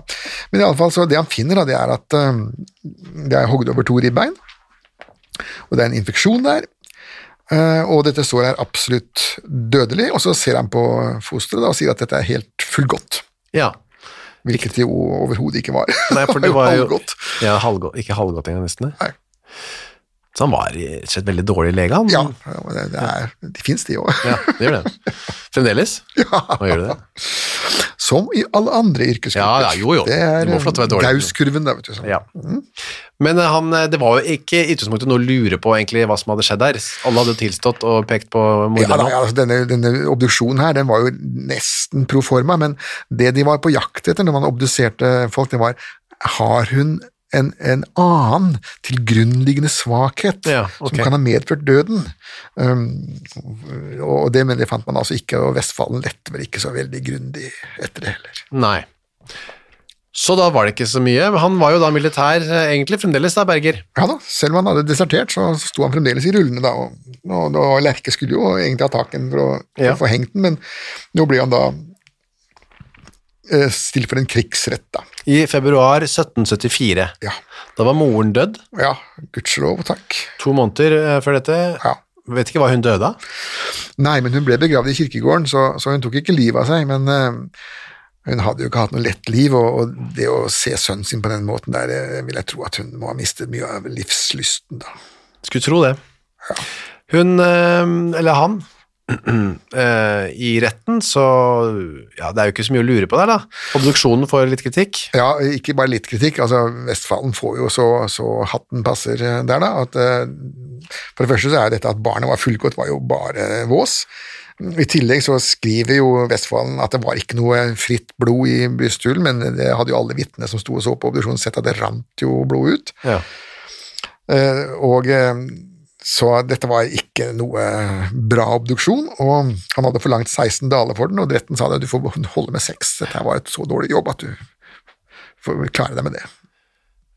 C: Men i alle fall, så det han finner, da, det er at um, det er hogd over to ribbein, og det er en infeksjon der. eh, Og dette sår er absolutt dødelig, og så ser han på fosteret da, og sier at dette er helt fullgodt.
B: Ja.
C: Hvilket det jo overhodet ikke var.
B: Nei,
C: <laughs>
B: for det var jo
C: halvgodt.
B: Ja, halvgå- ikke halvgodt engang, nesten. det.
C: Nei.
B: Så han var rett og slett veldig dårlig lege, han.
C: Ja, det, det, er, det finnes de jo.
B: Ja, det gjør det.
C: <laughs>
B: Fremdeles? Ja. Nå gjør det det.
C: Som i alle andre
B: Ja,
C: yrkesgrupper.
B: ja, jo, jo.
C: Det er
B: Det må få lov til å være dårlig.
C: gauskurven, da, vet du. Sånn.
B: Ja. Men eh, han, eh, det var jo ikke i utgangspunktet noe å lure på egentlig hva som hadde skjedd der. Alle hadde tilstått og pekt på
C: Ja, da,
B: morderen.
C: ja, altså denne, denne obduksjonen her, den var jo nesten pro forma, men det de var på jakt etter når man obduserte folk, det var har hun en, en annen tilgrunnliggende svakhet
B: Ja, ok.
C: som kan ha medført døden. Um, og det, men det fant man altså ikke, og Vestfallen lette vel ikke så veldig grundig etter det heller.
B: Nei. Så da var det ikke så mye. Han var jo da militær eh, egentlig fremdeles, da, Berger.
C: Ja da, selv om han hadde desertert, så sto han fremdeles i rullene da, og, og, og Lerke skulle jo egentlig ha tak i den for å for
B: Ja.
C: å få hengt den, men nå ble han da eh, stilt for en krigsrett, da.
B: I februar 1774.
C: Ja,
B: Da var moren dødd,
C: ja gudskjelov, takk.
B: to måneder eh, før dette.
C: Ja.
B: Vet ikke hva hun døde av.
C: Nei, men hun ble begravd i kirkegården, så, så hun tok ikke livet av seg, men eh, hun hadde jo ikke hatt noe lett liv, og, og det å se sønnen sin på den måten der, eh, vil jeg tro at hun må ha mistet mye av livslysten, da.
B: Skulle tro det. Hun, eh, eller han, <clears throat> eh, i retten, så Ja, det er jo ikke så mye å lure på der, da. Obduksjonen får litt kritikk.
C: Ja, ikke bare litt kritikk. altså Vestfalen får jo så, så hatten passer eh, der, da. At, eh, for det første så er dette at barnet var fullgodt, var jo bare vås. I tillegg så skriver jo Vestfalen at det var ikke noe fritt blod i brysthulen, men det hadde jo alle vitnene som sto og så på obduksjonen sett at det rant jo blod ut.
B: Ja.
C: Eh, Og eh, så dette var ikke noe bra obduksjon, og han hadde forlangt 16 daler for den, og retten sa det, du får holde med 6, dette her var et så dårlig jobb at du får klare deg med det.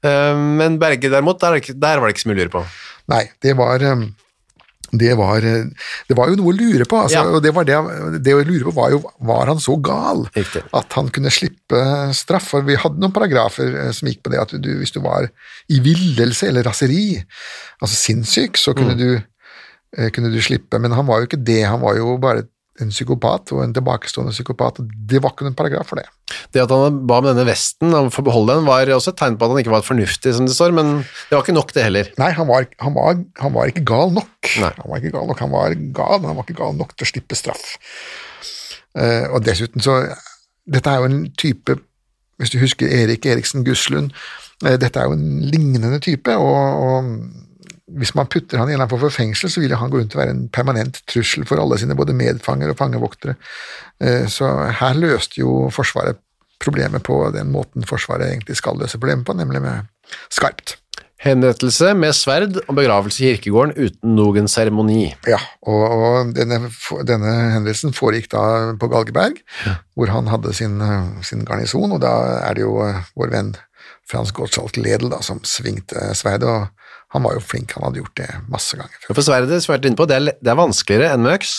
B: Eh, Men Berge derimot, der, er det ikke- der var det ikke så mye å lure på.
C: Nei, det var eh, det var, eh, det var jo noe å lure på, altså,
B: Ja.
C: og det, var det, det å lure på var jo var han så gal
B: Riktig.
C: at han kunne slippe straff. For vi hadde noen paragrafer eh, som gikk på det at du, hvis du var i villelse eller raseri, altså sinnssyk, så
B: Mm.
C: kunne, du, eh, kunne du slippe. Men han var jo ikke det, han var jo bare en psykopat og en tilbakestående psykopat. og Det var ikke noen paragraf for det.
B: Det at han ba om denne vesten, han får beholde den, var også et tegn på at han ikke var fornuftig, som det står, men det var ikke nok det heller.
C: Nei, han var, han var, han var ikke gal nok.
B: Nei.
C: Han var ikke gal nok, han var gal, men han var ikke gal nok til å slippe straff. Eh, og dessuten så Dette er jo en type Hvis du husker Erik Eriksen Guslund, eh, dette er jo en lignende type. og, og hvis man putter han i en eller annen form for fengsel, så vil jo han gå rundt og være en permanent trussel for alle sine både medfanger og fangevoktere. Eh, Så her løste jo Forsvaret problemet på den måten Forsvaret egentlig skal løse problemet på, nemlig med skarpt.
B: Henrettelse med sverd og begravelse i kirkegården uten noen seremoni.
C: Ja, og, og denne, denne hendelsen foregikk da på Galgeberg, hvor han hadde sin, eh, sin garnison, og da er det jo eh, vår venn Frans Gottschalk Ledel da, som svingte sverdet, og han var jo flink, han hadde gjort det masse ganger før.
B: For sverdet, som vi har vært inne på, det er, le- det er vanskeligere enn med øks.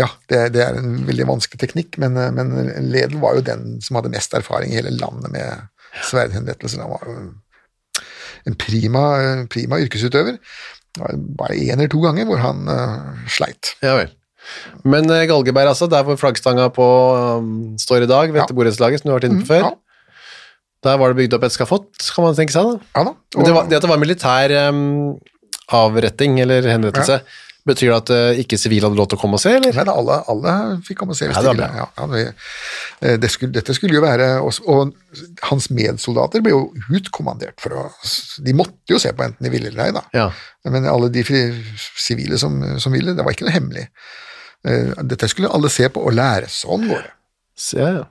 C: Ja, det, det er en veldig vanskelig teknikk, men, eh, men Ledel var jo den som hadde mest erfaring i hele landet med sverdhenrettelser. Han var jo en prima, prima yrkesutøver. Det var bare én eller to ganger hvor han eh, sleit.
B: Ja vel. Men eh, Galgeberg, altså, der hvor flaggstanga på um, står i dag, ved
C: Ja. Mhm,
B: dette borettslaget som du har vært inne på før,
C: Ja,
B: der var det bygd opp et skafott, kan man tenke seg da.
C: ja da.
B: Men det,
C: og-
B: var, det at det var militær um, avretting eller henrettelse, betyr det at eh, ikke sivile hadde lov til å komme og se, eller?
C: Nei, da, alle, alle fikk komme og se hvis
B: Ja,
C: de
B: det var
C: ville.
B: bra.
C: Ja, ja, det, eh, det skulle, dette skulle jo være også, Og hans medsoldater ble jo utkommandert for å De måtte jo se på enten de ville eller ei, da.
B: Ja.
C: Men alle de fri- sivile som, som ville, det var ikke noe hemmelig. Eh, Dette skulle alle se på og lære. Sånn går det.
B: Så, ja, ja.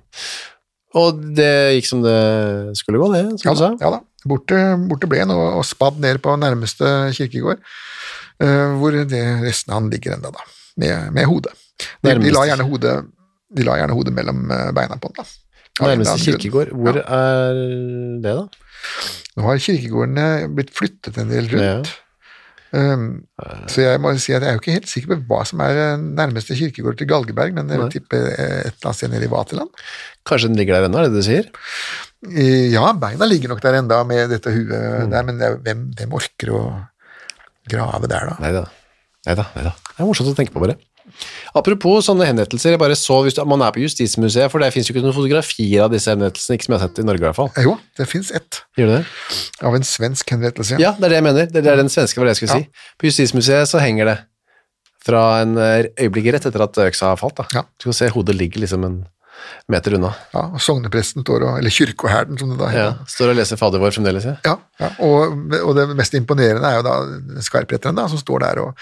B: Og det gikk som det skulle gå, det, som
C: Ja da.
B: du sa.
C: Ja, da. Borte, borte ble han, og, og spadd ned på nærmeste kirkegård, eh, hvor det, resten av han ligger ennå, da. Med, med hodet. De, de, la
B: Nærmeste-
C: gjerne hodet, de la gjerne hodet mellom eh, beina på den. da. Av en eller
B: Nærmeste
C: annen grunn.
B: kirkegård, hvor er det, da?
C: Nå har kirkegårdene blitt flyttet en del rundt. Um, så jeg må jo si at jeg er jo ikke helt sikker på hva som er eh, nærmeste kirkegård til Galgeberg, men jeg vil tippe eh, et eller annet sted nede i Vaterland.
B: Kanskje den ligger der ennå, er det det du sier?
C: Eh, Ja, beina ligger nok der enda med dette
B: Mm.
C: huet der, men det er, hvem, hvem orker å grave der da?
B: Nei da. Det er morsomt å tenke på, bare. Apropos sånne henrettelser, jeg bare så hvis du, man er på Justismuseet, for der fins jo ikke noen fotografier av disse henrettelsene, ikke som jeg har sett i Norge i hvert fall.
C: Eh, Jo, det finnes ett
B: Gjør du det?
C: av en svensk henrettelse.
B: Ja, det er det jeg mener. Det det er den svenske, var det jeg skulle
C: Ja.
B: si. På Justismuseet så henger det fra en eh, øyeblikk rett etter at øksa har falt, da.
C: Ja.
B: Du kan se hodet ligger liksom en meter unna.
C: Ja, og sognepresten står og, eller kyrkoherden som det
B: Ja.
C: da heter.
B: Står og leser Fader vår fremdeles, ja.
C: Ja, ja. Og, og det mest imponerende er jo da skarpretteren da, som står der og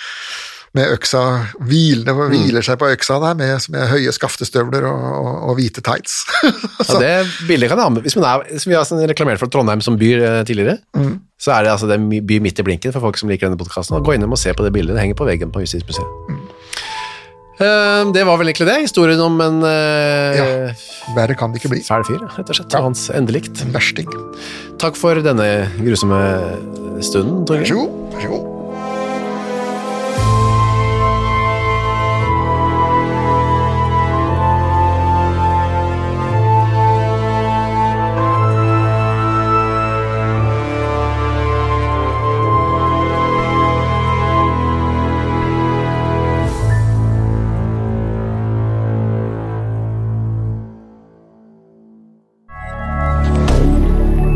C: med øksa, hvilende,
B: Mm.
C: hviler seg på øksa der, med, med høye skaftestøvler og, og, og hvite tights. <laughs>
B: Ja, det bildet kan jeg ha med. Hvis man er, som vi har sånn reklamert for Trondheim som by eh, tidligere, så er det altså det er my- by midt i blinken for folk som liker denne podkasten. Gå innom og se på det bildet. Det henger på veggen på Justismuseet. Eh, Det var vel egentlig det. Historien om en eh,
C: Verre kan det ikke bli.
B: fæl fyr, rett og slett. Og hans endelikt.
C: En versting.
B: Takk for denne grusomme stunden,
C: Vær
B: Torgeir.
C: så god. Vær så god.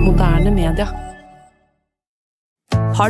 D: Moderne media.
E: Har